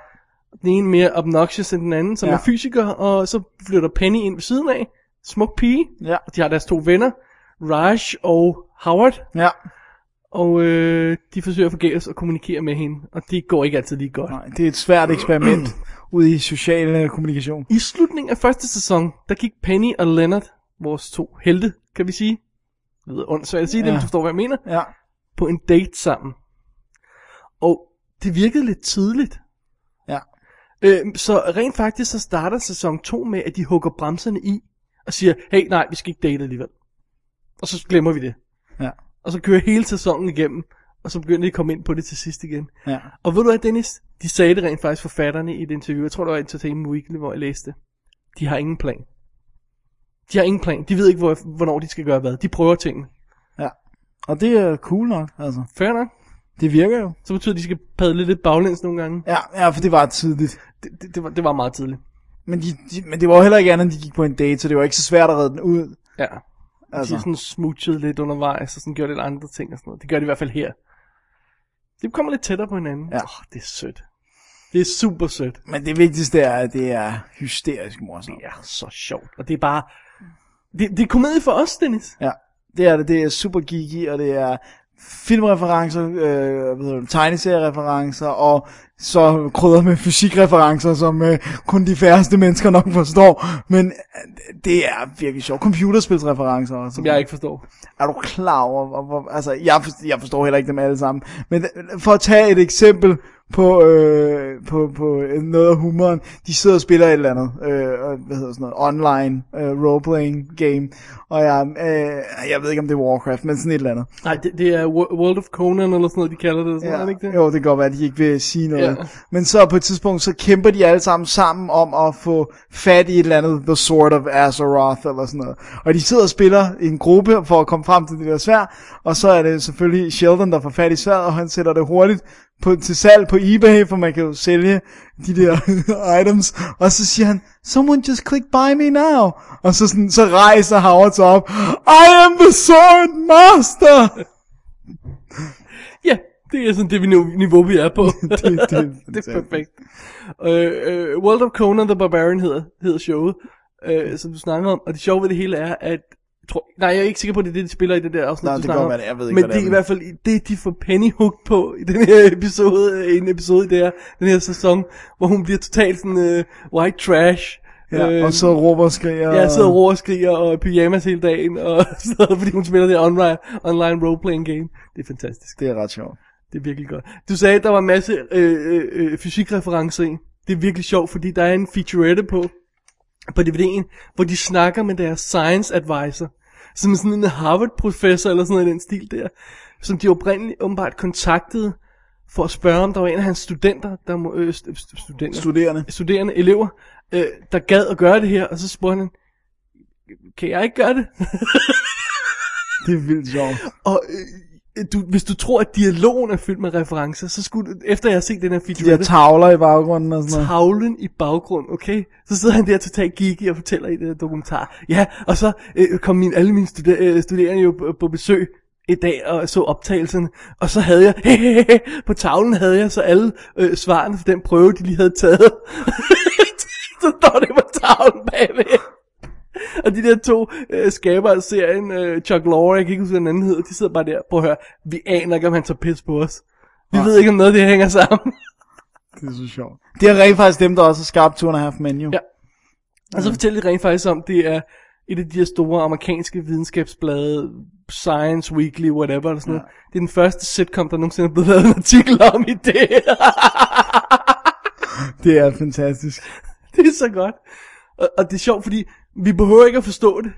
Speaker 1: Den ene mere obnoxious end den anden, som
Speaker 2: Ja.
Speaker 1: ja. er fysiker, og så flytter Penny ind ved siden af. Smuk pige.
Speaker 2: ja,
Speaker 1: Og de har deres to venner, Raj og Howard,
Speaker 2: ja.
Speaker 1: og øh, de forsøger forgæves at kommunikere med hende, og det går ikke altid lige godt.
Speaker 2: Nej, det er et svært eksperiment ude i social øh, kommunikation.
Speaker 1: I slutningen af første sæson, der gik Penny og Leonard, vores to helte, kan vi sige, jeg ved, åndssvagt at sige ja. det,
Speaker 2: Ja.
Speaker 1: men du forstår, hvad jeg mener,
Speaker 2: Ja,
Speaker 1: på en date sammen. Og det virkede lidt tidligt,
Speaker 2: ja.
Speaker 1: Øh, så rent faktisk så starter sæson 2 med, at de hugger bremserne i og siger, hey nej, vi skal ikke date alligevel. Og så glemmer vi det.
Speaker 2: Ja.
Speaker 1: Og så kører hele sæsonen igennem, og så begynder de at komme ind på det til sidst igen.
Speaker 2: Ja.
Speaker 1: Og ved du hvad, Dennis? De sagde det rent faktisk forfatterne i et interview. Jeg tror, det var Entertainment Weekly, hvor jeg læste det. De har ingen plan. De har ingen plan. De ved ikke, hvor, hvornår de skal gøre hvad. De prøver tingene.
Speaker 2: Ja. Og det er cool nok, altså.
Speaker 1: Fair nok.
Speaker 2: Det virker jo.
Speaker 1: Så betyder det, at de skal padle lidt baglæns nogle gange.
Speaker 2: Ja, ja for det var tidligt.
Speaker 1: Det, det, det, var, det var meget tidligt.
Speaker 2: Men, de, de, men det var jo heller ikke andet, end de gik på en date, så det var ikke så svært at redde den ud.
Speaker 1: Ja. Altså.
Speaker 2: Altså.
Speaker 1: De sådan smoochede lidt undervejs, og sådan gjorde lidt andre ting og sådan noget. Det gør de i hvert fald her. De kommer lidt tættere på hinanden.
Speaker 2: Ja.
Speaker 1: Åh, det er sødt. Det er super sødt.
Speaker 2: Men det vigtigste er, at det er hysterisk morsomt.
Speaker 1: Det er så sjovt. Og det er bare... Det, det er komedie for os, Dennis.
Speaker 2: Ja, det er det. Det er super geeky, og det er filmreferencer, øh, hvad hedder det, tegneseriereferencer, og så krydder med fysikreferencer, som øh, kun de færreste mennesker nok forstår. Men øh, det er virkelig sjovt. Computerspilsreferencer også.
Speaker 1: Som jeg ikke forstår.
Speaker 2: Er du klar over, hvor, hvor, altså jeg forstår, jeg forstår heller ikke dem alle sammen, men øh, for at tage et eksempel på, øh, på, på øh, noget af humoren, de sidder og spiller et eller andet, øh, og hvad hedder sådan noget, online øh, roleplaying game, og jeg, øh, jeg ved ikke om det er Warcraft, men sådan et eller andet.
Speaker 1: Nej, det, det er Wo- World of Conan eller sådan noget, de kalder det. og Sådan ja. noget, er det ikke det?
Speaker 2: Jo, det kan godt være, at de ikke vil sige noget.
Speaker 1: Ja.
Speaker 2: Men så på et tidspunkt, så kæmper de alle sammen sammen om at få fat i et eller andet The Sword of Azeroth eller sådan noget. Og de sidder og spiller i en gruppe for at komme frem til det der svær. Og så er det selvfølgelig Sheldon, der får fat i sværet, og han sætter det hurtigt på, til salg på eBay, for man kan jo sælge de der items. Og så siger han, someone just click buy me now. Og så, sådan, så rejser Howard sig op, I am the sword master.
Speaker 1: Ja, det er sådan det vi nu- niveau, vi er på. det,
Speaker 2: det, det, er
Speaker 1: det er
Speaker 2: fantastisk.
Speaker 1: perfekt. Øh, øh, World of Conan the Barbarian hedder, hedder showet, øh, som du snakker om. Og det sjove ved det hele er, at... jeg Tror, nej, jeg er ikke sikker på, at det er det, de spiller i det der afsnit, du
Speaker 2: Nå, det kan
Speaker 1: snakker
Speaker 2: godt
Speaker 1: om.
Speaker 2: være det. Jeg ved ikke,
Speaker 1: Men
Speaker 2: hvad det
Speaker 1: det er
Speaker 2: er,
Speaker 1: i
Speaker 2: men-
Speaker 1: hvert fald det, de får Penny hooked på i den her episode, øh, en episode i det her, den her sæson, hvor hun bliver totalt sådan øh, white trash.
Speaker 2: Ja,
Speaker 1: øh,
Speaker 2: og så råber og skriger.
Speaker 1: Ja, jeg sidder og roer og skriger og er i pyjamas hele dagen, og sådan noget, fordi hun spiller det online, online roleplaying game. Det er fantastisk.
Speaker 2: Det er ret sjovt.
Speaker 1: Det er virkelig godt. Du sagde, at der var en masse øh, øh, øh, fysikreferencer i. Det er virkelig sjovt, fordi der er en featurette på, på DVD'en, hvor de snakker med deres science advisor, som er sådan en Harvard-professor eller sådan noget i den stil der, som de oprindeligt åbenbart kontaktede for at spørge, om der var en af hans studenter, der må, øh, st- st- studenter,
Speaker 2: Studerende.
Speaker 1: studerende, elever, øh, der gad at gøre det her, og så spurgte han, kan jeg ikke gøre det?
Speaker 2: Det er vildt sjovt.
Speaker 1: og øh, du, hvis du tror, at dialogen er fyldt med referencer, så skulle du, efter jeg har set den her
Speaker 2: De der
Speaker 1: featurette,
Speaker 2: tavler i baggrunden og sådan noget.
Speaker 1: tavlen i baggrund, okay? Så sidder han der totalt geeky og fortæller i det der dokumentar. Ja, og så øh, kom min, alle mine studer, øh, studerende jo på, på besøg i dag og så optagelserne, og så havde jeg, på tavlen havde jeg så alle øh, svarene for den prøve, de lige havde taget. så står det på tavlen bagved. Og de der to øh, skaber af serien, øh, Chuck Lorre, jeg kan ikke huske, hvad den anden hedder, de sidder bare der, prøv at høre, vi aner ikke, om han tager pis på os. Vi ved ikke, om noget af det her hænger sammen.
Speaker 2: Det er så sjovt. Det er rent faktisk dem, der også har skabt Two and a Half Men, jo.
Speaker 1: Ja. Og
Speaker 2: Mm.
Speaker 1: så fortæller de rent faktisk om, det er et af de her store amerikanske videnskabsblade, Science Weekly, whatever, eller sådan ja. noget. Det er den første sitcom, der nogensinde er blevet lavet en artikel om i det.
Speaker 2: Det er fantastisk.
Speaker 1: det er så godt. Og, og det er sjovt, fordi vi behøver ikke at forstå det.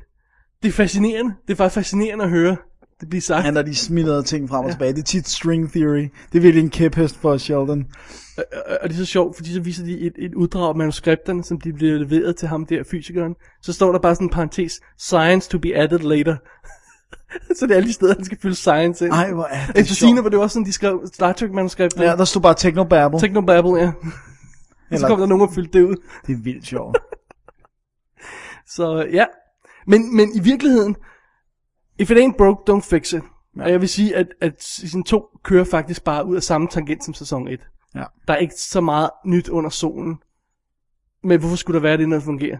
Speaker 1: Det er fascinerende. Det er faktisk fascinerende at høre det blive sagt.
Speaker 2: Han har de smidrede ting frem og tilbage. Det er tit string theory. Det er virkelig en kæphest for Sheldon.
Speaker 1: Og- Og det er så sjovt, fordi så viser de et, et uddrag af manuskripterne, som de bliver leveret til ham der, fysikeren. Så står der bare sådan en parentes, science to be added later. så det er alle de steder, han skal fylde science ind.
Speaker 2: Ej, hvor er det
Speaker 1: Efter sine
Speaker 2: sjovt.
Speaker 1: var det jo også sådan, de skrev Star Trek-manuskripter.
Speaker 2: Ja,
Speaker 1: Ja,
Speaker 2: der stod bare Technobabble.
Speaker 1: Technobabble, ja. så
Speaker 2: Eller-
Speaker 1: kom der nogen og fyldte det ud.
Speaker 2: Det er vildt sjovt.
Speaker 1: Så ja. Men, men i virkeligheden, if it ain't broke, don't fix it. Ja. Og jeg vil sige, at, at season 2 kører faktisk bare ud af samme tangent som sæson 1.
Speaker 2: Ja.
Speaker 1: Der er ikke så meget nyt under solen. Men hvorfor skulle der være det, når det fungerer?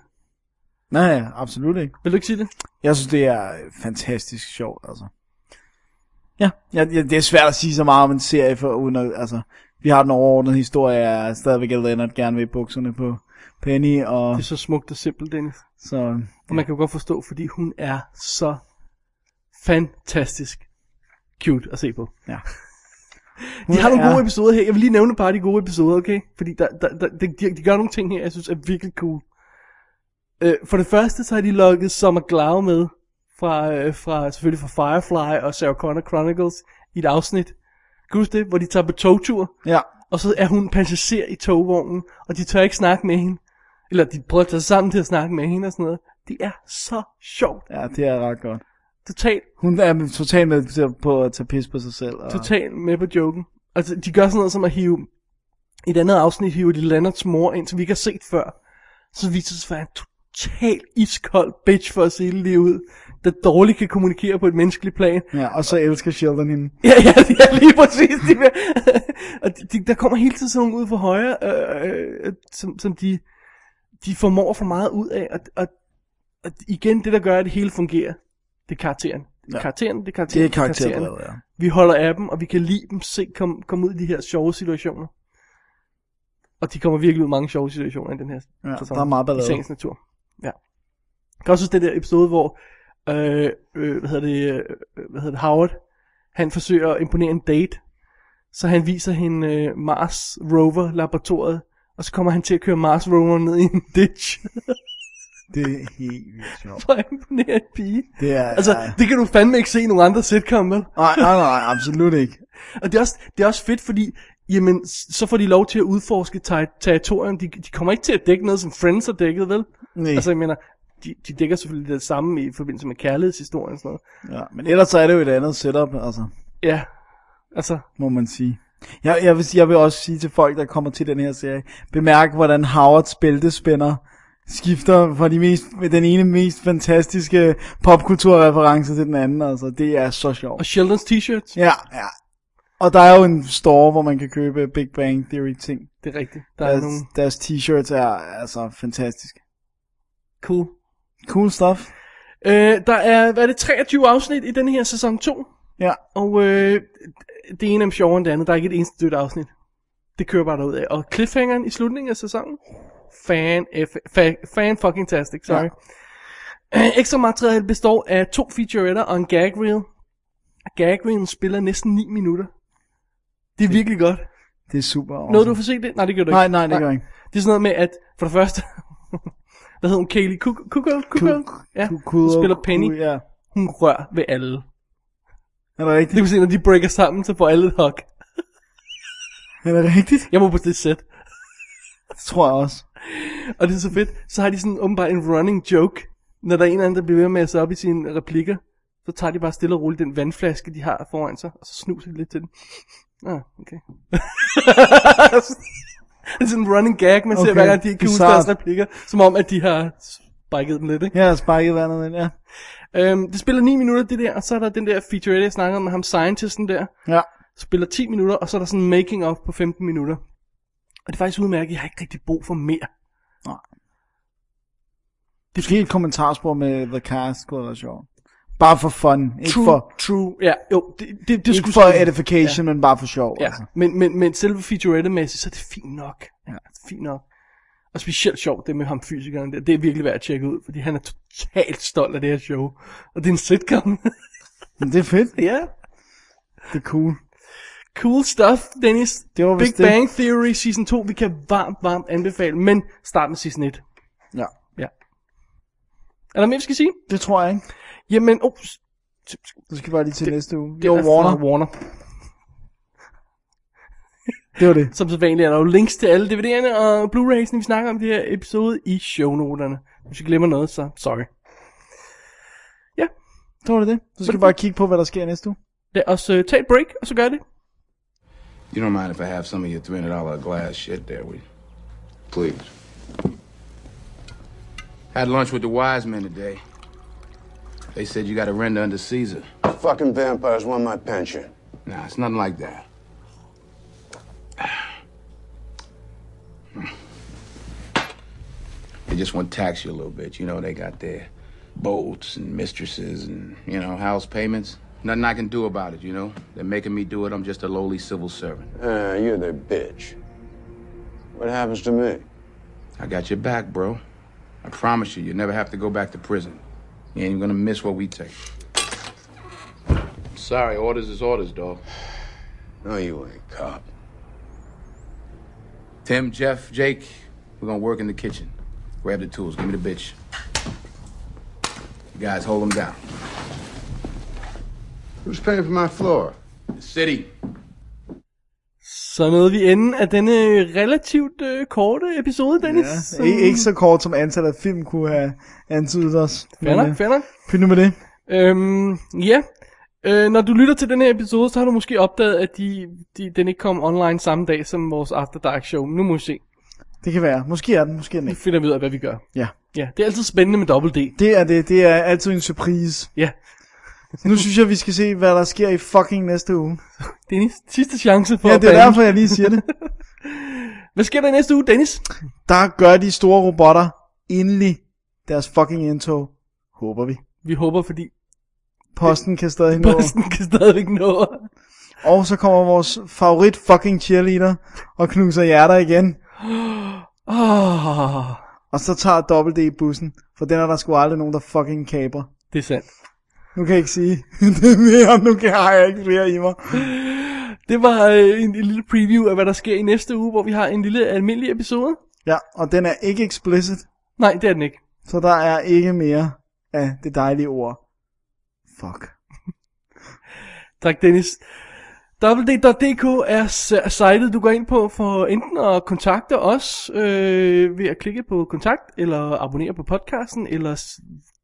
Speaker 2: Nej, absolut ikke.
Speaker 1: Vil du ikke sige det?
Speaker 2: Jeg synes, det er fantastisk sjovt, altså. Ja, ja, ja det er svært at sige så meget om en serie, for uden at, altså, vi har den overordnede historie, er stadigvæk at Leonard gerne vil i bukserne på Penny, og
Speaker 1: Det er så smukt og simpelt, Dennis.
Speaker 2: så...
Speaker 1: Og man kan jo godt forstå, fordi hun er så fantastisk cute at se på.
Speaker 2: Ja.
Speaker 1: De har nogle
Speaker 2: er-
Speaker 1: gode episoder her. Jeg vil lige nævne bare de gode episoder, okay? Fordi der, der, der, de, de, de gør nogle ting her, jeg synes er virkelig cool. Øh, for det første, så har de lukket Summer Glau med. Fra, øh, fra, selvfølgelig fra Firefly og Sarah Connor Chronicles i et afsnit. Kan du huske det? Hvor de tager på togtur.
Speaker 2: Ja,
Speaker 1: Og så er hun passager i togvognen, og de tør ikke snakke med hende. Eller de prøver at tage sig sammen til at snakke med hende og sådan noget. Det er så sjovt.
Speaker 2: ja, det er ret godt.
Speaker 1: Totalt,
Speaker 2: Hun er totalt med til- på at tage pis på sig selv. Og...
Speaker 1: totalt med på joken. Altså, de gør sådan noget som at hive... I et andet afsnit hiver de Lennarts mor ind, som vi ikke har set før. Så viser det sig, at han er en total iskold bitch for at se det lige ud. Der dårligt kan kommunikere på et menneskeligt plan.
Speaker 2: Ja, og så elsker Sheldon hende.
Speaker 1: Ja, ja, ja lige præcis. De, vil- og de, de, der kommer hele tiden sådan nogle ud for højre, øh, øh, som, som de, de formår for meget ud af. Og, og, og igen, det der gør, at det hele fungerer, det er karakteren. Det er
Speaker 2: Ja.
Speaker 1: karakteren, det er
Speaker 2: Det
Speaker 1: karakteren.
Speaker 2: er karakteret, ja.
Speaker 1: Vi holder af dem, og vi kan lide dem se, komme kom ud i de her sjove situationer. Og de kommer virkelig ud i mange sjove situationer i den her
Speaker 2: Ja,
Speaker 1: sæson.
Speaker 2: der er meget
Speaker 1: I
Speaker 2: ballade.
Speaker 1: sagens natur. Ja. Jeg kan også huske den der episode, hvor øh, øh, hvad hedder det, øh, hvad hedder det, Howard, han forsøger at imponere en date, så han viser hende øh, Mars Rover laboratoriet, og så kommer han til at køre Mars Rover ned i en ditch,
Speaker 2: Det er helt vildt sjovt.
Speaker 1: for at imponere en pige.
Speaker 2: Det er...
Speaker 1: Altså, det kan du fandme ikke se i nogen andre sitcom, vel?
Speaker 2: Nej, nej, nej, absolut ikke.
Speaker 1: Og det er også, det er også fedt, fordi jamen, s- så får de lov til at udforske ter- territorium. De, de kommer ikke til at dække noget, som Friends har dækket, vel?
Speaker 2: Nej.
Speaker 1: Altså, jeg mener, de, de dækker selvfølgelig det samme i forbindelse med kærlighedshistorien og sådan noget.
Speaker 2: Ja, men ellers så er det jo et andet setup, altså,
Speaker 1: Ja, altså,
Speaker 2: må man sige. Jeg, jeg, vil, sige- jeg vil også sige til folk, der kommer til den her serie, bemærk, hvordan Howards bæltespænder skifter fra de mest, den ene mest fantastiske popkulturreference til den anden. Altså, det er så
Speaker 1: Og
Speaker 2: sjovt.
Speaker 1: Sheldons t-shirt.
Speaker 2: Ja, ja. Og der er jo en store, hvor man kan købe Big Bang Theory ting.
Speaker 1: Det er rigtigt. Der er
Speaker 2: Deres,
Speaker 1: nogle
Speaker 2: deres t-shirts er altså fantastiske.
Speaker 1: cool.
Speaker 2: Cool stuff.
Speaker 1: Øh, der er, hvad er det, 23 afsnit i den her sæson 2.
Speaker 2: Ja.
Speaker 1: Og øh, det ene er sjovere end det andet. Der er ikke et eneste dødt afsnit. Det kører bare derud af. Og cliffhangeren i slutningen af sæsonen. Fan, f- fa- fan fucking tastic, sorry. Ja. Øh, ekstra materiale består af to featuretter og en gag reel. Gag reelen spiller næsten 9 minutter. Det er virkelig godt.
Speaker 2: Det er super. Awesome.
Speaker 1: Nåede du for se det? Nej, det gjorde du
Speaker 2: Nej,
Speaker 1: ikke.
Speaker 2: nej, det gør jeg ikke.
Speaker 1: Det er sådan noget med, at for det første... hvad hedder hun? Kaylee Kuk- Kukul? Kukul? Ja,
Speaker 2: Ku-
Speaker 1: hun
Speaker 2: ku-
Speaker 1: spiller
Speaker 2: ku-
Speaker 1: Penny.
Speaker 2: Ja.
Speaker 1: Hun rører ved alle.
Speaker 2: Er
Speaker 1: Det
Speaker 2: det rigtigt?
Speaker 1: vil sige, når de breaker sammen, så får alle et hug.
Speaker 2: Er det rigtigt?
Speaker 1: Jeg må på det sæt.
Speaker 2: Det tror jeg også.
Speaker 1: Og det er så fedt. Så har de sådan åbenbart en running joke. Når der er en eller anden, der bliver ved med at se op i sine replikker, så tager de bare stille og roligt den vandflaske, de har foran sig, og så snuser de lidt til den. Ah, okay. det er sådan en running gag, man okay, ser
Speaker 2: Okay,
Speaker 1: hver gang, de ikke kan huske
Speaker 2: bizarre.
Speaker 1: deres replikker, som om, at de har spiket dem lidt, ikke?
Speaker 2: Jeg har sparket vandet ind, ja.
Speaker 1: Øhm, det spiller 9 minutter, det der, og så er der den der featurette, jeg snakkede om med ham, scientisten der.
Speaker 2: Ja.
Speaker 1: spiller 10 minutter, og så er der sådan en making of på 15 minutter. Og det er faktisk udmærket, jeg har ikke rigtig brug for mere.
Speaker 2: Det er et kommentarspor med The Cast, kunne være sjovt. Bare for fun. Ikke for,
Speaker 1: true. Ja, jo, det, det, det
Speaker 2: ikke
Speaker 1: skulle
Speaker 2: for edification, ja. men bare for sjov.
Speaker 1: Ja,
Speaker 2: Altså.
Speaker 1: men, men, men selve featurette-mæssigt, så er det fint nok.
Speaker 2: Ja.
Speaker 1: Ja. Fint nok. Og specielt sjovt, det med ham fysikeren der. Det er virkelig værd at tjekke ud, fordi han er totalt stolt af det her show. Og det er en sitcom.
Speaker 2: Men det er fedt.
Speaker 1: ja.
Speaker 2: Det er cool.
Speaker 1: Cool stuff, Dennis.
Speaker 2: Det var
Speaker 1: Big
Speaker 2: vist det.
Speaker 1: Bang Theory Season 2, vi kan varmt, varmt anbefale. Men start med Season 1.
Speaker 2: Ja.
Speaker 1: Ja. Er der mere, vi skal sige?
Speaker 2: Det tror jeg ikke.
Speaker 1: Jamen, oh,
Speaker 2: Du skal vi bare lige til det, næste uge. Det,
Speaker 1: Det
Speaker 2: jo,
Speaker 1: er
Speaker 2: Warner.
Speaker 1: Fra Warner.
Speaker 2: Det var det.
Speaker 1: Som så vanligt er der jo links til alle DVD'erne og Blu-rays'ene, vi snakker om i det her episode i shownoterne. Hvis vi glemmer noget, så sorry. Ja,
Speaker 2: Det var det. Du skal bare kigge på, hvad der sker næste uge.
Speaker 1: lad os uh, tage et break, og så gør det.
Speaker 3: You don't mind if I have some of your $300 glass shit there, will you? Please. Had lunch with the wise men today. They said you gotta render under Caesar.
Speaker 5: Fucking vampires want my pension.
Speaker 3: Nah, it's nothing like that. They just want to tax you a little bit. You know, they got their boats and mistresses and, you know, house payments. Nothing I can do about it, you know? They're making me do it. I'm just a lowly civil servant.
Speaker 5: Ah, you're their bitch. What happens to me?
Speaker 3: I got your back, bro. I promise you, you never have to go back to prison. You ain't even gonna miss what we take. Sorry, orders is orders, dog.
Speaker 5: No, you ain't, cop.
Speaker 3: Tim, Jeff, Jake, we're gonna work in the kitchen. Grab the tools, give me the bitch. You guys hold them down.
Speaker 5: Who's paying for my floor?
Speaker 3: The city.
Speaker 1: Så nåede vi enden af denne relativt øh, korte episode, Dennis.
Speaker 2: Ja. Ikke, ikke så kort, som antallet af film kunne have antydet os.
Speaker 1: Fair
Speaker 2: Men,
Speaker 1: nok,
Speaker 2: øh,
Speaker 1: fair nok.
Speaker 2: Pyt nu med det.
Speaker 1: Øhm, ja. Øh, når du lytter til den her episode, så har du måske opdaget, at de, de, den ikke kom online samme dag som vores After Dark show. Men nu må vi se.
Speaker 2: Det kan være. Måske er den, måske er den
Speaker 1: Nu
Speaker 2: ikke.
Speaker 1: finder vi ud af, hvad vi gør.
Speaker 2: Ja.
Speaker 1: Ja, det er altid spændende med dobbelt D.
Speaker 2: Det er det. Det er altid en surprise.
Speaker 1: Ja,
Speaker 2: Nu synes jeg, vi skal se, hvad der sker i fucking næste uge.
Speaker 1: Dennis, sidste chance for
Speaker 2: Ja,
Speaker 1: at
Speaker 2: det er
Speaker 1: bande.
Speaker 2: derfor, jeg lige siger det.
Speaker 1: Hvad sker der i næste uge, Dennis?
Speaker 2: Der gør de store robotter endelig deres fucking indtog. Håber vi.
Speaker 1: Vi håber, fordi
Speaker 2: Posten kan stadig nå.
Speaker 1: posten kan stadigvæk nå.
Speaker 2: Og så kommer vores favorit fucking cheerleader og knuser hjerter igen.
Speaker 1: Oh,
Speaker 2: Og så tager Double D bussen, for den er der sgu aldrig nogen, der fucking kaber.
Speaker 1: det er sandt.
Speaker 2: Nu kan jeg ikke sige det mere, nu kan jeg, har jeg ikke flere i mig.
Speaker 1: Det var øh, en, en lille preview af, hvad der sker i næste uge, hvor vi har en lille almindelig episode.
Speaker 2: Ja, og den er ikke explicit,
Speaker 1: Nej, det er den ikke.
Speaker 2: så der er ikke mere af det dejlige ord. Fuck.
Speaker 1: Tak, Dennis. www.dk er s- sitet, du går ind på for enten at kontakte os øh, ved at klikke på kontakt, eller abonnere på podcasten, eller s-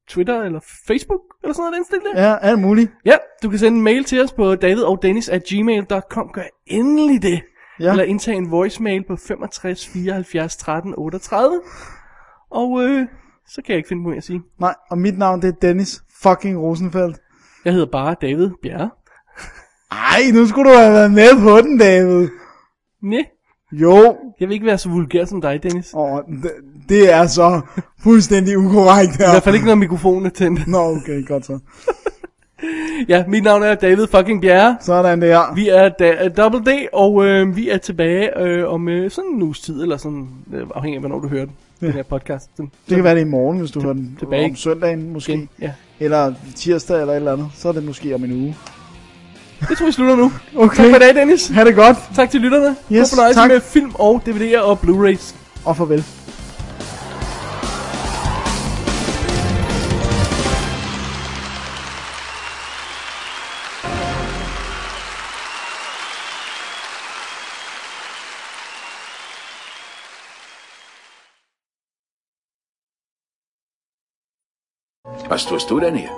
Speaker 1: Twitter eller Facebook, eller sådan noget af den stil der.
Speaker 2: Ja, alt muligt.
Speaker 1: Ja, du kan sende en mail til os på davidogdennis at gmail.com. Gør endelig det.
Speaker 2: Ja.
Speaker 1: Ja. Eller indtage en voicemail på 65 74 13 38. Og øh, så kan jeg ikke finde på, hvad jeg sige.
Speaker 2: Nej, og mit navn det er Dennis fucking Rosenfeldt.
Speaker 1: Jeg hedder bare David Bjerre.
Speaker 2: Ej, nu skulle du have været med på den, David.
Speaker 1: Næ,
Speaker 2: Jo,
Speaker 1: jeg vil ikke være så vulgær som dig, Dennis.
Speaker 2: og det, det er så fuldstændig ukorrekt her.
Speaker 1: I hvert fald ikke, når mikrofonen er tændt.
Speaker 2: Nå, okay, godt så.
Speaker 1: Ja, mit navn er David fucking Bjerre.
Speaker 2: Sådan der.
Speaker 1: Vi er da, Double D, og øh, vi er tilbage øh, om øh, sådan en uges tid, eller sådan, øh, afhængig af, hvornår du hører den, den her podcast. Den,
Speaker 2: Det kan være det i morgen, hvis du hører den.
Speaker 1: tilbage.
Speaker 2: Om søndagen måske.
Speaker 1: igen. Ja.
Speaker 2: Eller tirsdag eller et eller andet. Så er det måske om en uge.
Speaker 1: Jeg tror, vi slutter nu.
Speaker 2: Okay.
Speaker 1: Tak for i dag, Dennis.
Speaker 2: Ha' det godt,
Speaker 1: Tak til lytterne.
Speaker 2: Yes,
Speaker 1: Yes, God fornøjelse
Speaker 2: tak.
Speaker 1: med film og DVD'er og Blu-rays.
Speaker 2: og farvel.
Speaker 5: Was tust du denn hier?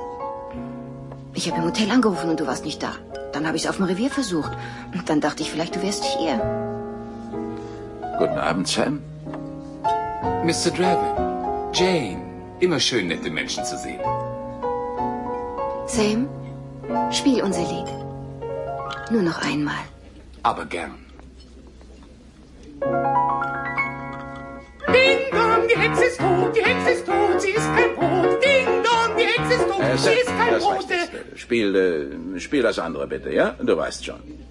Speaker 6: Ich habe im Hotel angerufen und du warst nicht da. Dann habe ich es auf dem Revier versucht. Und dann dachte ich, vielleicht du wärst hier.
Speaker 5: Guten Abend, Sam.
Speaker 7: Mr. Dragon, Jane, immer schön nette Menschen zu sehen.
Speaker 6: Sam, spiel unser Lied. Nur noch einmal.
Speaker 7: Aber gern.
Speaker 8: Ding dong, die Hexe ist tot, die Hexe ist tot, sie ist kein Brot. Ding dong, die Hexe ist tot,
Speaker 5: Äh,
Speaker 8: sie
Speaker 5: Sam,
Speaker 8: ist kein
Speaker 5: das
Speaker 8: Brot.
Speaker 5: reicht jetzt. Spiel, äh, spiel das andere bitte, ja? Du weißt schon.